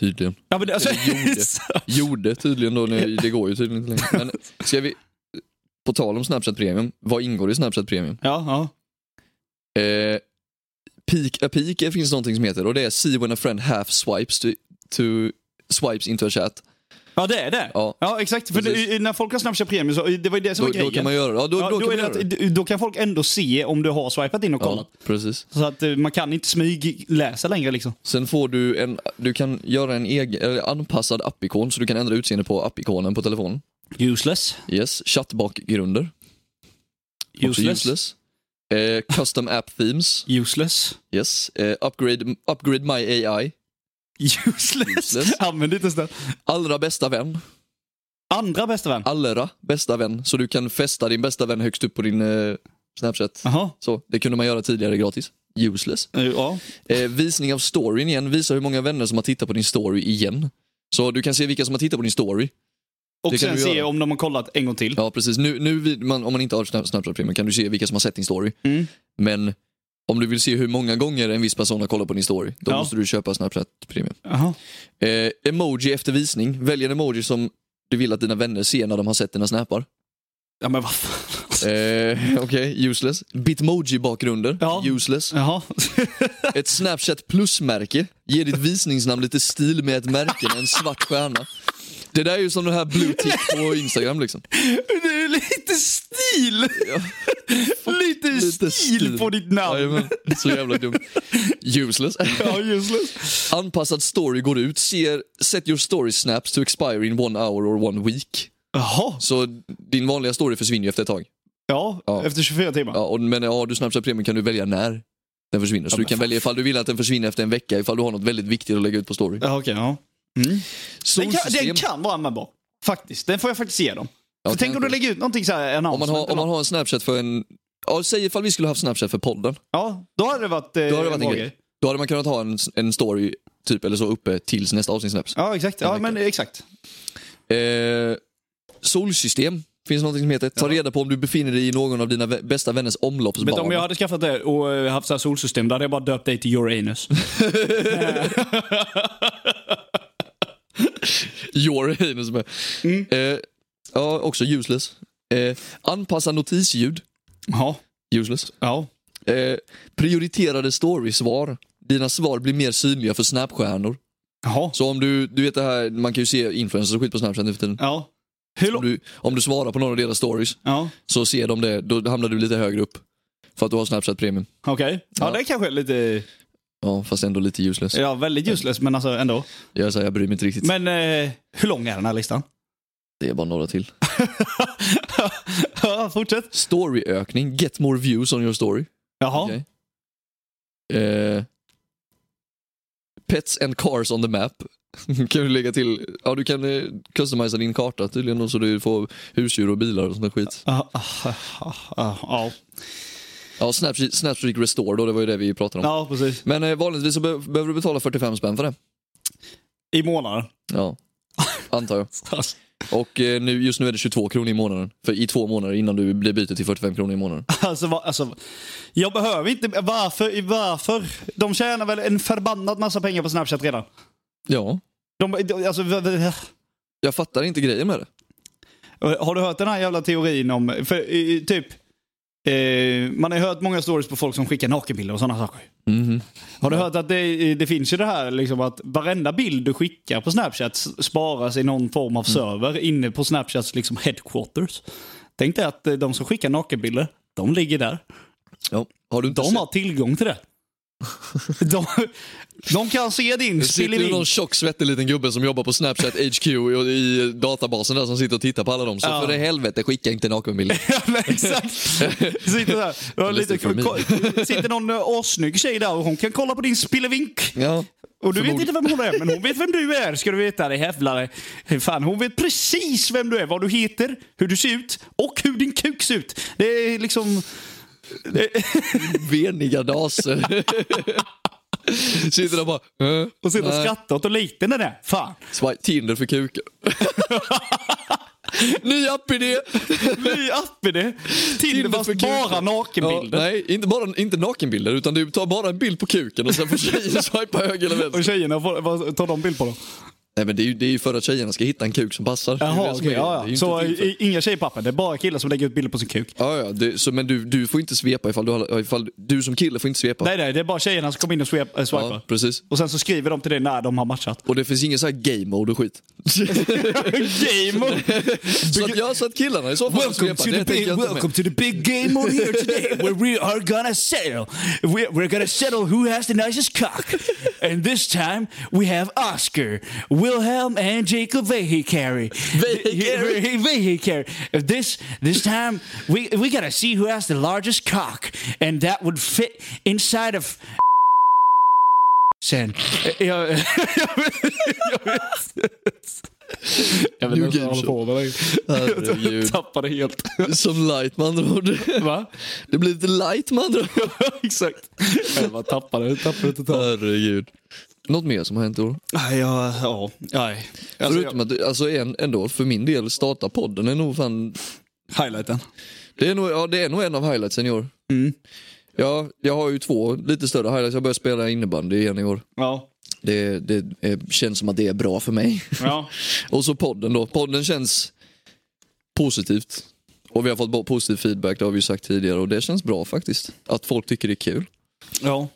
Speaker 2: Tydligen.
Speaker 1: Ja, men det- alltså, *laughs*
Speaker 2: Eller gjorde. Gjorde tydligen då, nu, det går ju tydligen inte längre. Men ska vi, på tal om Snapchat Premium, vad ingår i Snapchat Premium?
Speaker 1: ja, ja.
Speaker 2: Eh, peak, a peak eh, finns någonting som heter och det är see when a friend half swipes to, to swipes into a chat.
Speaker 1: ja, det är det. Ja,
Speaker 2: Ja.
Speaker 1: exakt. För
Speaker 2: Precis.
Speaker 1: det, när folk har Snapchat Premium, så, det var ju det som
Speaker 2: Då,
Speaker 1: var
Speaker 2: då
Speaker 1: grejen.
Speaker 2: kan man göra det. Ja, då,
Speaker 1: ja,
Speaker 2: då
Speaker 1: då,
Speaker 2: kan man
Speaker 1: är det
Speaker 2: göra det.
Speaker 1: att, då kan folk ändå se om du har swipat in och kollat.
Speaker 2: Ja, precis.
Speaker 1: Så att eh, man kan inte smygläsa längre liksom.
Speaker 2: Sen får du en, du kan göra en egen, eller anpassad appikon så du kan ändra utseende på appikonen på telefonen.
Speaker 1: Useless.
Speaker 2: Yes, chattbakgrunder. Också
Speaker 1: Useless. Useless.
Speaker 2: useless. Eh, custom app themes.
Speaker 1: Useless.
Speaker 2: Yes. Eh, upgrade, upgrade my AI. Useless.
Speaker 1: *laughs* Använd inte snäll.
Speaker 2: Allra bästa vän.
Speaker 1: Andra bästa vän.
Speaker 2: Allra bästa vän. Så du kan fästa din bästa vän högst upp på din eh, Snapchat.
Speaker 1: Jaha.
Speaker 2: Så, det kunde man göra tidigare gratis. Useless.
Speaker 1: Eh, Ja.
Speaker 2: Eh, visning av storyn igen. Visa hur många vänner som har tittat på din story igen. Så du kan se vilka som har tittat på din story.
Speaker 1: Och
Speaker 2: Det kan
Speaker 1: sen
Speaker 2: du
Speaker 1: se
Speaker 2: göra.
Speaker 1: om de har kollat en gång till.
Speaker 2: Ja, precis. Nu, nu vid, man, om man inte har Snap- Snapchat Premium kan du se vilka som har sett din story.
Speaker 1: Mm.
Speaker 2: Men om du vill se hur många gånger en viss person har kollat på din story, då
Speaker 1: Ja.
Speaker 2: måste du köpa Snapchat Premium.
Speaker 1: Jaha.
Speaker 2: Eh, emoji efter visning. Välj en emoji som du vill att dina vänner ser när de har sett dina snappar.
Speaker 1: Ja, men vad fan.
Speaker 2: Eh, *laughs* Okej, useless. Bitmoji-bakgrunder,
Speaker 1: Ja.
Speaker 2: useless.
Speaker 1: Jaha.
Speaker 2: Ett Snapchat plus-märke. Ge ditt visningsnamn lite stil med ett märke med en svart stjärna. Det där är ju som den här blue tick på Instagram liksom.
Speaker 1: Det är lite stil!
Speaker 2: Ja.
Speaker 1: *laughs* Lite, stil, på ditt namn.
Speaker 2: Jajamän, så jävla dumt. Useless.
Speaker 1: Ja, useless.
Speaker 2: Anpassad story går ut. Ser, set your story snaps to expire in one hour or one week.
Speaker 1: Jaha.
Speaker 2: Så din vanliga story försvinner ju efter ett tag.
Speaker 1: Ja,
Speaker 2: Ja.
Speaker 1: efter 24 timmar.
Speaker 2: Ja, och, men har du Snapchat Premium kan du välja när den försvinner. Så
Speaker 1: Ja,
Speaker 2: du
Speaker 1: men
Speaker 2: kan
Speaker 1: fan.
Speaker 2: välja ifall du vill att den försvinner efter en vecka, ifall du har något väldigt viktigt att lägga ut på story.
Speaker 1: Ja, okej. ja. Den, kan,
Speaker 2: Solsystem.
Speaker 1: den kan vara användbar. Faktiskt. Den får jag faktiskt ge dem.
Speaker 2: Ja,
Speaker 1: För tänk om du
Speaker 2: kanske.
Speaker 1: lägger ut någonting så här, en
Speaker 2: om, man har, om man har en Snapchat för en... Ja, säg ifall vi skulle haft Snapchat för podden.
Speaker 1: Ja, då hade det varit, eh,
Speaker 2: Då hade det varit en
Speaker 1: bra
Speaker 2: grej. Då hade man kunnat ha en, en story typ eller så uppe tills nästa avsnitt släpps.
Speaker 1: Ja, exakt. Ja,
Speaker 2: vecka.
Speaker 1: men exakt.
Speaker 2: Eh, solsystem finns någonting som heter. Ta reda på om du befinner dig i någon av dina vä- bästa vänners
Speaker 1: Men
Speaker 2: omloppsbana.
Speaker 1: om jag hade skaffat det och eh, haft så här solsystem, då hade jag bara döpt dig till Uranus.
Speaker 2: *laughs* Your anus med.
Speaker 1: Mm.
Speaker 2: Eh, ja, också useless. Eh, anpassa notisljud.
Speaker 1: *laughs* ja.
Speaker 2: Useless.
Speaker 1: ja.
Speaker 2: Eh, prioriterade story-svar. Dina svar blir mer synliga för snapstjärnor.
Speaker 1: Jaha.
Speaker 2: Så om du, du vet det här, man kan ju se influencers och skit på Snapchat nu för tiden.
Speaker 1: Ja. Hur
Speaker 2: Om
Speaker 1: långt?
Speaker 2: du, om du svarar på några av deras stories
Speaker 1: Ja,
Speaker 2: så ser de det, då hamnar du lite högre upp. För att du har Snapchat Premium.
Speaker 1: okej. Ja,
Speaker 2: Ja.
Speaker 1: det kanske är lite...
Speaker 2: Ja, fast ändå lite useless.
Speaker 1: Ja, väldigt useless, men alltså ändå.
Speaker 2: Jag, så här, jag bryr mig inte riktigt.
Speaker 1: Men eh, hur lång är den här listan?
Speaker 2: Det är bara några till.
Speaker 1: ja, fortsätt.
Speaker 2: Storyökning, get more views on your story.
Speaker 1: Jaha.
Speaker 2: Okej. Eh, pets and cars on the map. *laughs* kan du lägga till, ja du kan eh, customisa din karta tydligen då, så du får husdjur och bilar och sånt där skit.
Speaker 1: Ja, ah, ah, ah, ah.
Speaker 2: Ja, Snapchat, Snapchat Restore då, det var ju det vi pratade om.
Speaker 1: ja, precis.
Speaker 2: Men eh, vanligtvis så be- behöver du betala 45 spänn för det.
Speaker 1: I månaden. *laughs*
Speaker 2: Ja, antar jag. Och eh, nu, just nu är det 22 kronor i månaden. För i två månader innan du blir byter till 45 kronor i månaden.
Speaker 1: Alltså, va, alltså, jag behöver inte... Varför, varför? De tjänar väl en förbannad massa pengar på Snapchat redan?
Speaker 2: Ja,
Speaker 1: De, de, alltså, v- v-
Speaker 2: jag fattar inte grejen med det.
Speaker 1: har du hört den här jävla teorin om... För, i- i- typ, Eh, man har ju hört många stories på folk som skickar nakenbilder och sådana saker.
Speaker 2: Mhm.
Speaker 1: Har du hört att det, det finns ju det här liksom att varenda bild du skickar på Snapchat s- sparas i någon form av
Speaker 2: Mm.
Speaker 1: server inne på Snapchats liksom headquarters. Tänk dig att eh, de som skickar nakenbilder, de ligger där.
Speaker 2: Ja. Har du inte
Speaker 1: De
Speaker 2: sett?
Speaker 1: har tillgång
Speaker 2: *laughs*
Speaker 1: till det. De, de kan se din
Speaker 2: Det sitter ju
Speaker 1: spillevink.
Speaker 2: någon tjock svettig liten gubbe som jobbar
Speaker 1: *laughs*
Speaker 2: på Snapchat HQ i, i eh, databasen där som sitter och tittar på alla dem. Så
Speaker 1: Ja.
Speaker 2: för i helvete skicka
Speaker 1: *laughs*
Speaker 2: inte nakenbilder.
Speaker 1: Ja, men exakt. Sitter, där. Det var lite,
Speaker 2: Listigt för
Speaker 1: sitter någon eh, assnygg tjej där och hon kan kolla på din spillevink.
Speaker 2: Ja.
Speaker 1: Och du vet
Speaker 2: Förmodligen.
Speaker 1: inte vem hon är, men hon vet vem du är. Ska du veta det hävlare. Fan, hon vet precis vem du är, vad du heter, hur du ser ut och hur din kuk ser ut. Det är liksom... det- *laughs*
Speaker 2: Veniga daser. sitter där och bara... eh,
Speaker 1: Och sitter och
Speaker 2: nej.
Speaker 1: skrattar åt hur liten den är. Fan.
Speaker 2: Swipe Tinder
Speaker 1: *laughs*
Speaker 2: för kuken. *laughs* Ny app-idé!
Speaker 1: Ny app är det. Tinder
Speaker 2: Tinder för
Speaker 1: fast
Speaker 2: kuken.
Speaker 1: bara nakenbilder.
Speaker 2: Ja, nej, inte, bara, inte nakenbilder utan du tar bara en bild på kuken och sen
Speaker 1: *laughs*
Speaker 2: får tjejen swipa höger eller vänster.
Speaker 1: och tjejerna, får- vad tar de bild på dem?
Speaker 2: Nej men det är ju, det är ju för att tjejerna ska hitta en kuk som passar. Det är ju
Speaker 1: Jaha,
Speaker 2: det som
Speaker 1: okej.
Speaker 2: är- det
Speaker 1: ja, ja. Så
Speaker 2: är ju inte till för-
Speaker 1: i- inga tjejer på appen, det är bara killar som lägger ut bilder på sin kuk.
Speaker 2: Ja, ja det, så, men du, du får inte svepa ifall du, har- ifall du som kille får inte svepa.
Speaker 1: Nej, nej, det är bara tjejerna som kommer in och swip- äh, swipar.
Speaker 2: ja, precis.
Speaker 1: Och sen så skriver de till dig när de har
Speaker 2: *laughs*
Speaker 1: matchat.
Speaker 2: Och det finns ingen så här game mode och skit.
Speaker 1: Game
Speaker 2: så, att, ja, så att killarna i så fall får svepa, det tänker jag inte med.
Speaker 1: to the big game on here today
Speaker 2: *laughs*
Speaker 1: where we are gonna settle. We're, we're gonna settle who has the nicest cock. And this time we have Oscar, Wilhelm and Jacob Vehicari.
Speaker 2: Vehicari.
Speaker 1: Vehicari. This, this time we, we gotta see who has the largest cock. And that would fit inside of... Sen. Jag, jag, jag vet
Speaker 2: New
Speaker 1: inte vad jag
Speaker 2: game
Speaker 1: håller på
Speaker 2: show.
Speaker 1: med.
Speaker 2: Herregud.
Speaker 1: Tappade helt. *laughs*
Speaker 2: Som light med andra ord.
Speaker 1: Va?
Speaker 2: Det blir lite light
Speaker 1: *laughs*
Speaker 2: med andra ord.
Speaker 1: Exakt. Jag bara tappade det, tappade det totalt.
Speaker 2: Herregud. Något mer som har hänt i år?
Speaker 1: Nej, ja, ja. Nej. Alltså,
Speaker 2: Förutom att, alltså en, ändå, för min del, starta podden är nog fan,
Speaker 1: jag- highlighten.
Speaker 2: det är nog, ja, det är nog en av highlightsen i år.
Speaker 1: Mm.
Speaker 2: Ja, jag har ju två lite större highlights. Jag börjar spela innebandy igen i år.
Speaker 1: Ja.
Speaker 2: Det, det eh, känns som att det är bra för mig.
Speaker 1: Ja.
Speaker 2: *laughs* Och så podden då. Podden känns positivt. Och vi har fått bo- positiv feedback, det har vi ju sagt tidigare. Och det känns bra faktiskt. Att folk tycker det är kul.
Speaker 1: *laughs* Ja.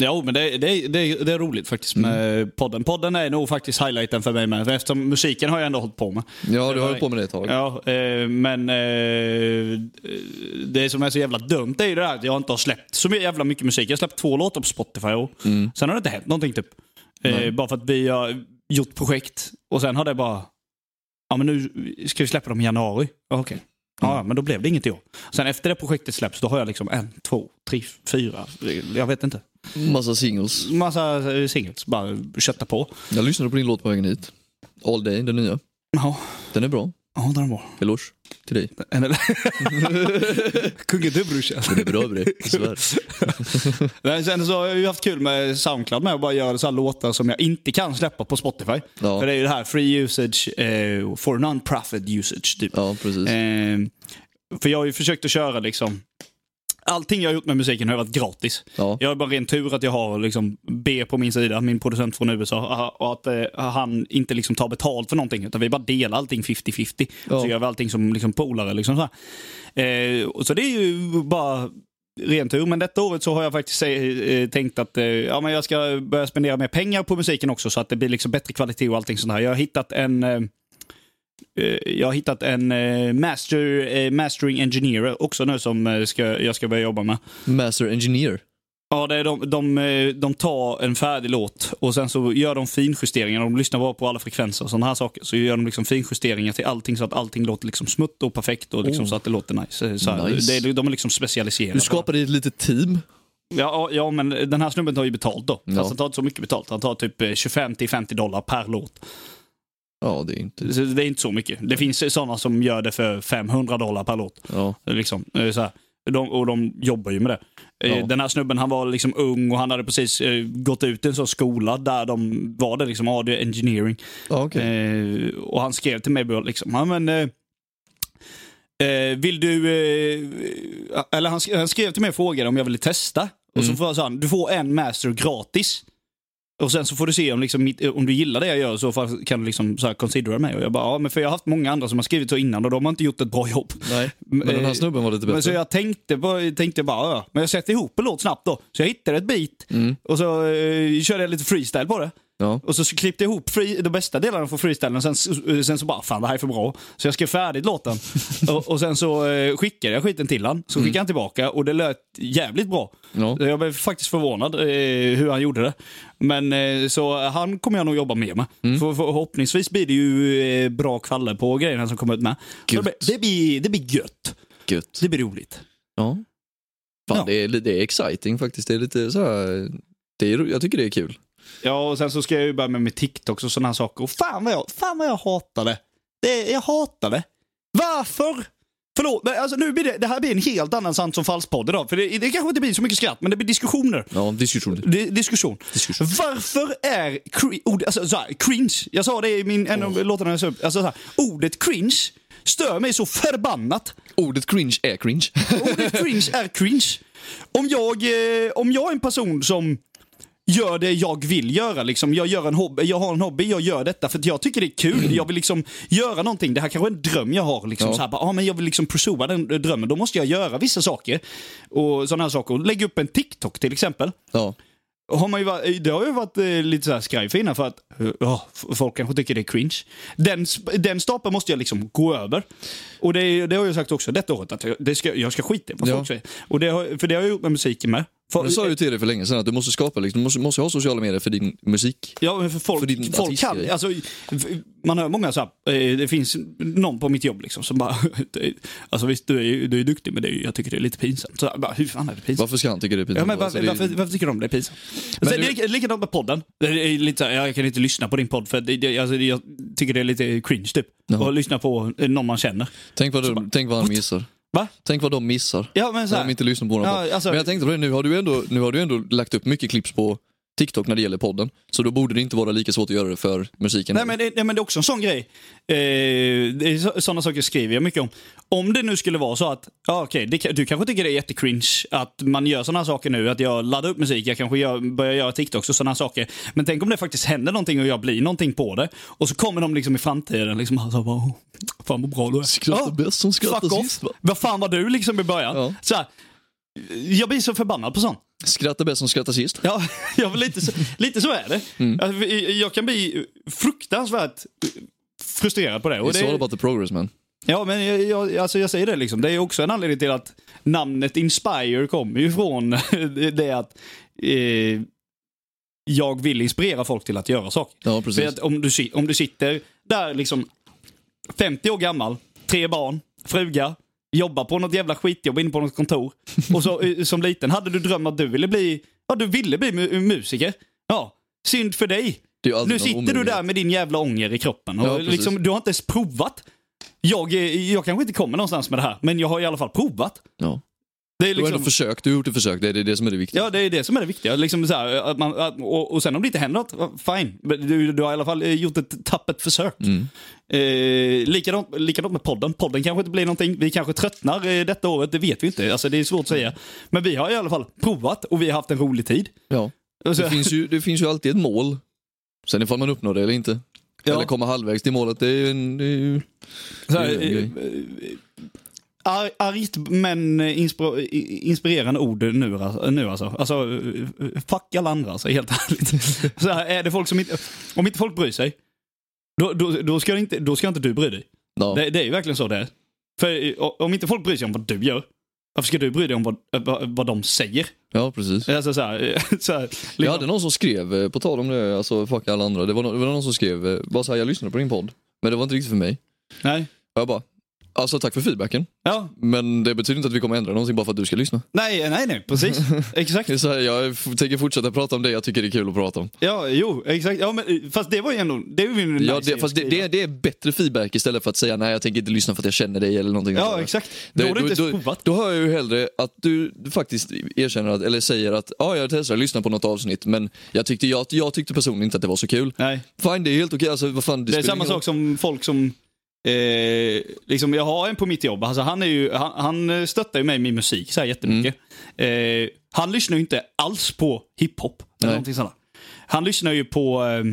Speaker 1: Jo, men det, det, det, det är roligt faktiskt med podden. Podden är nog faktiskt highlighten för mig med. för Eftersom musiken har jag ändå hållit på med.
Speaker 2: Ja, du har hållit på med det ett tag.
Speaker 1: Ja, eh, men eh, det som är så jävla dumt är ju det där att jag inte har släppt så jävla mycket musik. Jag har släppt två låtar på Spotify och sen har det inte hänt någonting typ. Eh, bara för att vi har gjort projekt och sen har det bara... Ja men nu ska vi släppa dem i januari. Ja, Okej. Ja, men då blev det inget i år. Sen efter det projektet släpps, då har jag liksom en, två, tre, fyra, jag vet inte.
Speaker 2: Massa singles.
Speaker 1: Massa eh, singles, bara kötta på.
Speaker 2: Jag lyssnade på din låt på vägen hit. All Day, den nya.
Speaker 1: Ja,
Speaker 2: Den är bra.
Speaker 1: ja där var
Speaker 2: Eloge till dig.
Speaker 1: den. *laughs* Kungen du brorsan.
Speaker 2: Det är *laughs* bra
Speaker 1: *laughs*
Speaker 2: över det. Sådär.
Speaker 1: Nej, sen så har jag ju haft kul med Soundcloud med att bara göra så här låtar som jag inte kan släppa på Spotify.
Speaker 2: Ja.
Speaker 1: För det är ju det här free usage eh, for non-profit usage. Typ.
Speaker 2: Ja, precis.
Speaker 1: Eh, för jag har ju försökt att köra liksom Allting jag har gjort med musiken har ju varit gratis.
Speaker 2: Ja.
Speaker 1: Jag har bara ren tur att jag har liksom B på min sida, min producent från USA, och att eh, han inte liksom tar betalt för någonting. Utan vi bara delar allting 50-50.
Speaker 2: Ja.
Speaker 1: Så gör vi allting som liksom polare. Liksom så, här. Eh, och så det är ju bara ren tur. Men detta året så har jag faktiskt eh, eh, tänkt att eh, ja, men jag ska börja spendera mer pengar på musiken också. Så att det blir liksom bättre kvalitet och allting sånt här. Jag har hittat en... Eh, eh, jag har hittat en eh, master, eh, mastering engineer också nu som eh, ska, jag ska börja jobba med.
Speaker 2: Master Engineer.
Speaker 1: Ja, det är de, de, eh, de tar en färdig låt och sen så gör de finjusteringar. De lyssnar bara på alla frekvenser och sådana här saker. Så gör de liksom finjusteringar till allting så att allting låter liksom smutt och perfekt och liksom
Speaker 2: Oh.
Speaker 1: så att det låter nice. Så här,
Speaker 2: Nice.
Speaker 1: Det, de är liksom specialiserade.
Speaker 2: Du skapade ett litet team.
Speaker 1: ja, ja, men den här snubben tar ju betalt då. Fast
Speaker 2: Ja.
Speaker 1: han tar inte så mycket betalt. Han tar typ 25-50 dollar per låt.
Speaker 2: Ja, det är inte...
Speaker 1: Så det är inte så mycket. Det finns sådana som gör det för 500 dollar per låt.
Speaker 2: Ja.
Speaker 1: Liksom. Eh, Så här. De, och de jobbar ju med det. Eh,
Speaker 2: Ja.
Speaker 1: Den här snubben han var liksom ung och han hade precis eh, gått ut i en sån skola där de var det, liksom audio engineering.
Speaker 2: Ja, okej.
Speaker 1: Eh, och han skrev till mig bara liksom, ja, men, eh, eh, vill du, eh, eller
Speaker 2: Mm.
Speaker 1: han, sk- han skrev till mig och frågade om jag ville testa. Och så sa han, du får en master gratis. Och sen så får du se om, liksom, mitt- om du gillar det jag gör så fall kan du liksom så här considera mig. Och jag bara, ja, men för jag har haft många andra som har skrivit så innan och de har inte gjort ett bra jobb.
Speaker 2: Nej, men den här
Speaker 1: Eh,
Speaker 2: snubben var lite
Speaker 1: Men så
Speaker 2: bättre.
Speaker 1: jag tänkte, på, tänkte bara, ja, men jag sätter ihop en låt snabbt då. Så jag hittade ett beat och så eh, körde jag lite freestyle på det.
Speaker 2: Ja.
Speaker 1: Och så klippte jag ihop free, de bästa delarna från freestylen och sen, s- eh, sen så bara, fan det här är för bra. Så jag skrev färdigt låten. och, och sen så eh, skickade jag skiten till han. Så skickade han tillbaka och det lät jävligt bra.
Speaker 2: Ja.
Speaker 1: Jag blev faktiskt förvånad eh, hur han gjorde det. Men eh, så han kommer jag nog jobba mer med. För, förhoppningsvis blir det ju eh, bra kvaller på grejerna som kommer ut med. Så det,
Speaker 2: Gött.
Speaker 1: blir, det, blir, det blir gött.
Speaker 2: Gött.
Speaker 1: Det blir roligt.
Speaker 2: Ja. Fan,
Speaker 1: Ja.
Speaker 2: Det, är, li- det är exciting faktiskt. Det är lite så här, det är, ro- jag tycker det är kul.
Speaker 1: Ja, och sen så ska jag ju börja med, med TikToks och sådana saker. Och fan vad jag, fan vad jag hatar det. det. Jag hatar det. Varför? Förlåt, men alltså nu blir det, det här blir en helt annan Sant som falsk-podd idag. För det, det kanske inte blir så mycket skratt, men det blir diskussioner.
Speaker 2: Ja, diskussion.
Speaker 1: Di- diskussion.
Speaker 2: Diskussion.
Speaker 1: Varför är cre- ord, alltså, så här, cringe, jag sa det i min, en av låtarna jag sa upp, alltså, så här, ordet cringe stör mig så förbannat.
Speaker 2: Ordet cringe är cringe.
Speaker 1: Ordet cringe är cringe. Om jag, eh, om jag är en person som gör det jag vill göra, liksom. jag, gör en hobby, jag har en hobby, jag gör detta för att jag tycker det är kul, jag vill liksom göra någonting, det här kanske är en dröm jag har, liksom.
Speaker 2: Ja.
Speaker 1: så här, bara, ah, men jag vill liksom pursua den eh, drömmen, då måste jag göra vissa saker. Och sådana här saker, Och lägga upp en TikTok till exempel.
Speaker 2: *laughs* ja.
Speaker 1: Har man ju varit, det har ju varit eh, lite så här skraj för innan för att eh, ja, f- folk kanske tycker det är cringe. Den, sp- den stapeln måste jag liksom gå över. Och det, är- det har jag sagt också detta året, att jag, det ska, jag ska skita i vad
Speaker 2: Ja.
Speaker 1: folk säger. Och det har, för det har jag gjort med musiken med.
Speaker 2: Jag sa
Speaker 1: För,
Speaker 2: ju till dig för länge sedan att du måste skapa, liksom, du måste, måste ha sociala medier för din musik.
Speaker 1: ja, men för folk,
Speaker 2: för din
Speaker 1: folk kan,
Speaker 2: artistgrej.
Speaker 1: alltså, f- man hör många så här, eh, det finns någon på mitt jobb liksom som bara, *laughs* alltså visst du är, ju- du är duktig men det är, ju- jag tycker det är lite pinsamt. Så, jag bara, hur fan är det pinsamt?
Speaker 2: Varför ska han tycka det är pinsamt?
Speaker 1: Ja, men
Speaker 2: Alltså,
Speaker 1: varför,
Speaker 2: det är-
Speaker 1: varför, varför tycker de det är pinsamt?
Speaker 2: Men
Speaker 1: Sen,
Speaker 2: du-
Speaker 1: det är likadant med podden. Det är lite så här, jag kan inte lyssna på din podd för det, det, alltså, det, jag tycker det är lite cringe typ.
Speaker 2: Jaha.
Speaker 1: Att lyssna på eh, någon man känner.
Speaker 2: Tänk vad, de, tänk vad han missar.
Speaker 1: Va?
Speaker 2: Tänk vad de missar.
Speaker 1: Ja, men så
Speaker 2: när
Speaker 1: här,
Speaker 2: de inte lyssnar på våran
Speaker 1: Ja,
Speaker 2: podd.
Speaker 1: alltså-
Speaker 2: Men jag tänkte på det, nu har, du ändå, nu har du ändå lagt upp mycket klipps på TikTok när det gäller podden. Så då borde det inte vara lika svårt att göra det för musiken.
Speaker 1: Nej, men det, nej, men det är också en sån grej. Eh, det är så, sådana saker skriver jag mycket om. Om det nu skulle vara så att, ja okej, det kan- du kanske tycker det är jättecringe att man gör sådana saker nu, att jag laddar upp musik, jag kanske gör, börjar göra TikToks och sådana saker. Men tänk om det faktiskt händer någonting och jag blir någonting på det. Och så kommer de liksom i framtiden liksom, alltså, wow, fan vad bra du är.
Speaker 2: Skrattar
Speaker 1: Ja.
Speaker 2: bäst som skrattar
Speaker 1: Fuck
Speaker 2: sist.
Speaker 1: off.
Speaker 2: va?
Speaker 1: Vad fan var du liksom i början?
Speaker 2: Ja.
Speaker 1: Så här, jag blir så förbannad på sånt.
Speaker 2: Skrattar bäst som skrattar sist.
Speaker 1: Ja, *laughs* jag vill lite, så, lite så är det. Alltså, jag kan bli fruktansvärt frustrerad på det. Och
Speaker 2: It's all
Speaker 1: det
Speaker 2: about the progress man.
Speaker 1: ja, men jag, jag, alltså jag säger det liksom. Det är också en anledning till att namnet Inspire kommer ju från *laughs* det att eh, jag vill inspirera folk till att göra saker. För
Speaker 2: Ja, precis.
Speaker 1: att om du, si- om du sitter där liksom 50 år gammal, tre barn, fruga, jobbar på något jävla skitjobb inne på något kontor. Och så, eh, som liten hade du dröm att du ville bli, ja du ville bli mu- musiker. Ja, synd för dig.
Speaker 2: Alltså, Det är ju
Speaker 1: Nu
Speaker 2: aldrig någon
Speaker 1: sitter du
Speaker 2: omöjlighet.
Speaker 1: där med din jävla ånger i kroppen.
Speaker 2: Ja,
Speaker 1: Och
Speaker 2: precis.
Speaker 1: liksom, du har inte ens provat. Jag, eh, jag kanske inte kommer någonstans med det här, men jag har i alla fall provat.
Speaker 2: Ja.
Speaker 1: Det är
Speaker 2: Du har
Speaker 1: liksom,
Speaker 2: ändå försökt, du har gjort ett försök. Det är det, är det som är det viktiga.
Speaker 1: Ja, det är det som är det viktiga. Liksom så här, att man, att, och, och sen om det inte händer något, fine. Men Du, du har i alla fall eh, gjort ett tappert försök.
Speaker 2: Mm.
Speaker 1: Eh, likadant, likadant med podden. Podden kanske inte blir någonting. Vi kanske tröttnar eh, detta året, det vet vi inte. Alltså, det är svårt att säga. Men vi har i alla fall provat och vi har haft en rolig tid. Alltså,
Speaker 2: Ja.
Speaker 1: Och så-
Speaker 2: Det, finns ju, det finns ju alltid ett mål. Sen ifall man uppnår det eller inte.
Speaker 1: Ja.
Speaker 2: Eller kommer halvvägs till målet, det är ju... en- det är ju-
Speaker 1: så här,
Speaker 2: det är ju en
Speaker 1: eh, ar- Argt men eh, inspiro- i- inspirerande ord nu, alltså- nu alltså. Alltså, eh, fuck alla andra alltså, helt *laughs* ärligt. Så här, är det folk som inte, om inte folk bryr sig, då, då, då, ska, det inte, då ska inte du bry dig.
Speaker 2: Ja.
Speaker 1: Det, det är ju verkligen så det är. För eh, om inte folk bryr sig om vad du gör, varför ska du bry dig om vad, eh, vad, vad de säger?
Speaker 2: ja, precis.
Speaker 1: Alltså så här, *laughs* så här, liksom.
Speaker 2: Jag hade någon som skrev, eh, på tal om det, alltså fuck alla andra. Det var, no- det var någon som skrev, eh, bara så här, jag lyssnade på din podd. Men det var inte riktigt för mig.
Speaker 1: Nej.
Speaker 2: Och jag bara, alltså tack för feedbacken.
Speaker 1: Ja.
Speaker 2: Men det betyder inte att vi kommer ändra någonting bara för att du ska lyssna.
Speaker 1: Nej, nej, nej,
Speaker 2: *laughs*
Speaker 1: precis. exakt.
Speaker 2: Det är så här, jag f- tänker fortsätta prata om det jag tycker det är kul att prata om.
Speaker 1: Ja, jo, exakt. Ja, men, eh, fast det var ju ändå... Det var ju en
Speaker 2: Ja,
Speaker 1: nice
Speaker 2: det, fast det,
Speaker 1: skriva.
Speaker 2: det, är- det är bättre feedback istället för att säga nej jag tänker inte lyssna för att jag känner dig eller någonting. sånt
Speaker 1: Ja,
Speaker 2: där.
Speaker 1: exakt.
Speaker 2: Det-
Speaker 1: då har du inte
Speaker 2: då,
Speaker 1: ens provat.
Speaker 2: då hör jag ju hellre att du faktiskt erkänner att, eller säger att ja, jag testar att lyssna på något avsnitt men jag tyckte, jag, jag tyckte personligen inte att det var så kul.
Speaker 1: Nej.
Speaker 2: Fine, det är helt okej. Alltså, vad fan, det
Speaker 1: Det är
Speaker 2: spelar
Speaker 1: samma
Speaker 2: ingen roll.
Speaker 1: sak som folk som... Eh, liksom jag har en på mitt jobb, alltså han, är ju, han, han eh, stöttar ju mig i min musik så här jättemycket. Eh, han lyssnar ju inte alls på hiphop eller
Speaker 2: Nej.
Speaker 1: någonting sånt. där. Han lyssnar ju på eh,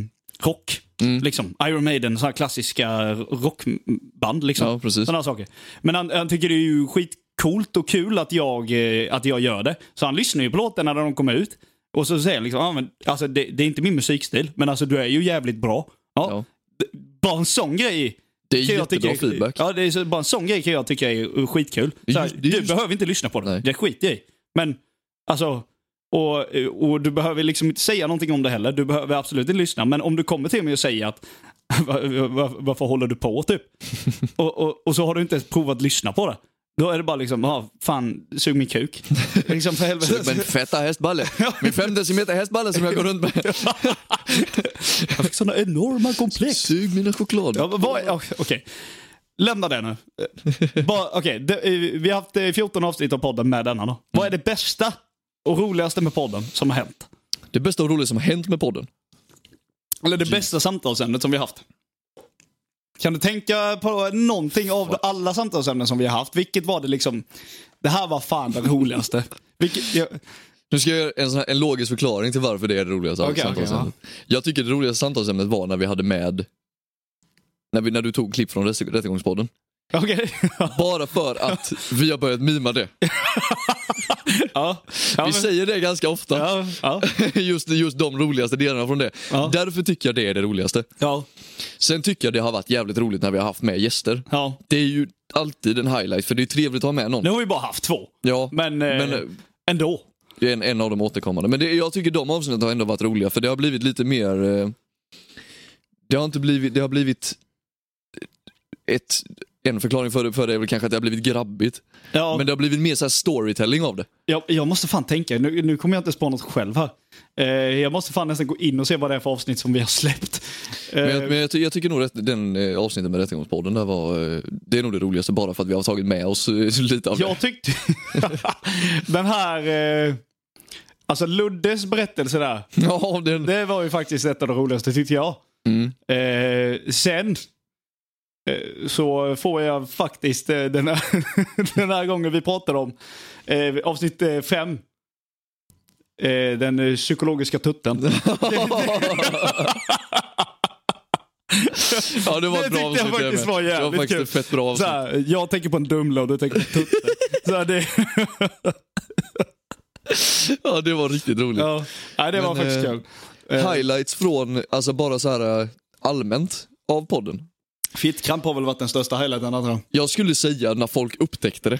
Speaker 1: rock.
Speaker 2: Mm.
Speaker 1: Liksom. Iron Maiden, sådana klassiska rockband. Liksom.
Speaker 2: Ja, precis.
Speaker 1: Sådana saker. Men han, han tycker det är ju skitcoolt och kul att jag, eh, att jag gör det. Så han lyssnar ju på låtarna när de kommer ut. Och så säger han liksom, ah, men, alltså, det, det är inte min musikstil, men alltså du är ju jävligt bra. Ja.
Speaker 2: Ja.
Speaker 1: D- Bara en sån grej.
Speaker 2: Det är
Speaker 1: kan jag
Speaker 2: jättebra
Speaker 1: tycka-
Speaker 2: feedback.
Speaker 1: Ja, det är så, bara en sån grej kan jag tycka är skitkul.
Speaker 2: Det
Speaker 1: Så
Speaker 2: är
Speaker 1: här,
Speaker 2: just- det
Speaker 1: du
Speaker 2: är just-
Speaker 1: behöver inte lyssna på det.
Speaker 2: Nej.
Speaker 1: Det skiter jag i. Men alltså, och, och du behöver liksom inte säga någonting om det heller. Du behöver absolut inte lyssna. Men om du kommer till mig och säger att *laughs* "Va- va- varför håller du på
Speaker 2: *laughs*
Speaker 1: typ? och, och, och så har du inte ens provat att lyssna på det. Då är det bara liksom, ah, fan, sug min
Speaker 2: *laughs*
Speaker 1: kuk. liksom för helvete. *laughs*
Speaker 2: Sug min feta hästballe. Min fem decimeter hästballe som jag går
Speaker 1: *laughs*
Speaker 2: runt med.
Speaker 1: Jag fick sådana enorma komplex.
Speaker 2: Sug mina choklad.
Speaker 1: Ja, men vad är- ja, Okej. Lämna det nu. Eh, Bara, okej, det- eh, Vi har haft eh, 14 avsnitt av podden med denna. Då. Vad är det bästa och roligaste med podden som har hänt?
Speaker 2: Det bästa och roligaste som har hänt med podden.
Speaker 1: Eller det bästa samtalsämnet som vi har haft? Kan du tänka på någonting av alla samtalsämnen som vi har haft? Vilket var det liksom... Det här var fan det roligaste. *laughs* Vilket, jag,
Speaker 2: Nu ska jag göra en, sån här, en logisk förklaring till varför det är det roligaste
Speaker 1: Okej,
Speaker 2: samtalsämnet. Jag tycker det roligaste samtalsämnet var när vi hade med när, vi, när du tog klipp från rätte- Rättegångspodden.
Speaker 1: *laughs* okej.
Speaker 2: Bara för
Speaker 1: *laughs*
Speaker 2: att vi har börjat mima det.
Speaker 1: ja. Ja,
Speaker 2: Vi
Speaker 1: men,
Speaker 2: säger det ganska ofta.
Speaker 1: ja, ja,
Speaker 2: *laughs* Just, just de roligaste delarna från det.
Speaker 1: Ja.
Speaker 2: Därför tycker jag det är det roligaste.
Speaker 1: ja,
Speaker 2: Sen tycker jag det har varit jävligt roligt när vi har haft med gäster.
Speaker 1: ja.
Speaker 2: Det är ju alltid en highlight för det är ju trevligt att ha med någon.
Speaker 1: Nu har vi bara haft två.
Speaker 2: Ja,
Speaker 1: Men, eh,
Speaker 2: men, eh,
Speaker 1: Ändå.
Speaker 2: Det är en, en av de återkommande. Men det, jag tycker de avsnitten har ändå varit roliga för det har blivit lite mer... Eh, det har inte blivit... Det har blivit ett, en förklaring för det, för det är väl kanske att det har blivit grabbigt.
Speaker 1: Ja.
Speaker 2: Men det har blivit mer så här storytelling av det.
Speaker 1: Jag, jag måste fan tänka, nu, nu kommer jag inte spå något själv här. Eh, jag måste fan nästan gå in och se vad det är för avsnitt som vi har släppt. Eh,
Speaker 2: Men, jag, men jag, ty- jag tycker nog att den eh, avsnittet med Rättegångspodden där var, eh, det är nog det roligaste bara för att vi har tagit med oss eh, lite av det.
Speaker 1: jag tyckte... *laughs* Den här... Eh, alltså Luddes berättelse där.
Speaker 2: *laughs* Ja, den,
Speaker 1: Det var ju faktiskt ett av de roligaste tyckte jag.
Speaker 2: Mm.
Speaker 1: Eh, sen eh, så får jag faktiskt eh, den här, *laughs* den här gången vi pratade om eh, avsnitt eh, fem. Eh, den eh, psykologiska tutten.
Speaker 2: *laughs* ja, det var
Speaker 1: det
Speaker 2: ett bra
Speaker 1: tyckte jag
Speaker 2: avsnitt. det
Speaker 1: faktiskt
Speaker 2: med.
Speaker 1: var
Speaker 2: Det var
Speaker 1: jävligt
Speaker 2: faktiskt
Speaker 1: kul.
Speaker 2: ett fett bra avsnitt.
Speaker 1: Såhär, jag tänker på en dumle och du tänker på en
Speaker 2: *laughs*
Speaker 1: tutte. Såhär, det,
Speaker 2: Ja, det var riktigt roligt.
Speaker 1: ja. *laughs* Nej, det var
Speaker 2: Men,
Speaker 1: faktiskt
Speaker 2: eh,
Speaker 1: kul. Eh,
Speaker 2: Highlights från, alltså bara så här eh, allmänt av podden.
Speaker 1: Fittkramp har väl varit den största highlighten antar jag.
Speaker 2: Jag skulle säga när folk upptäckte det.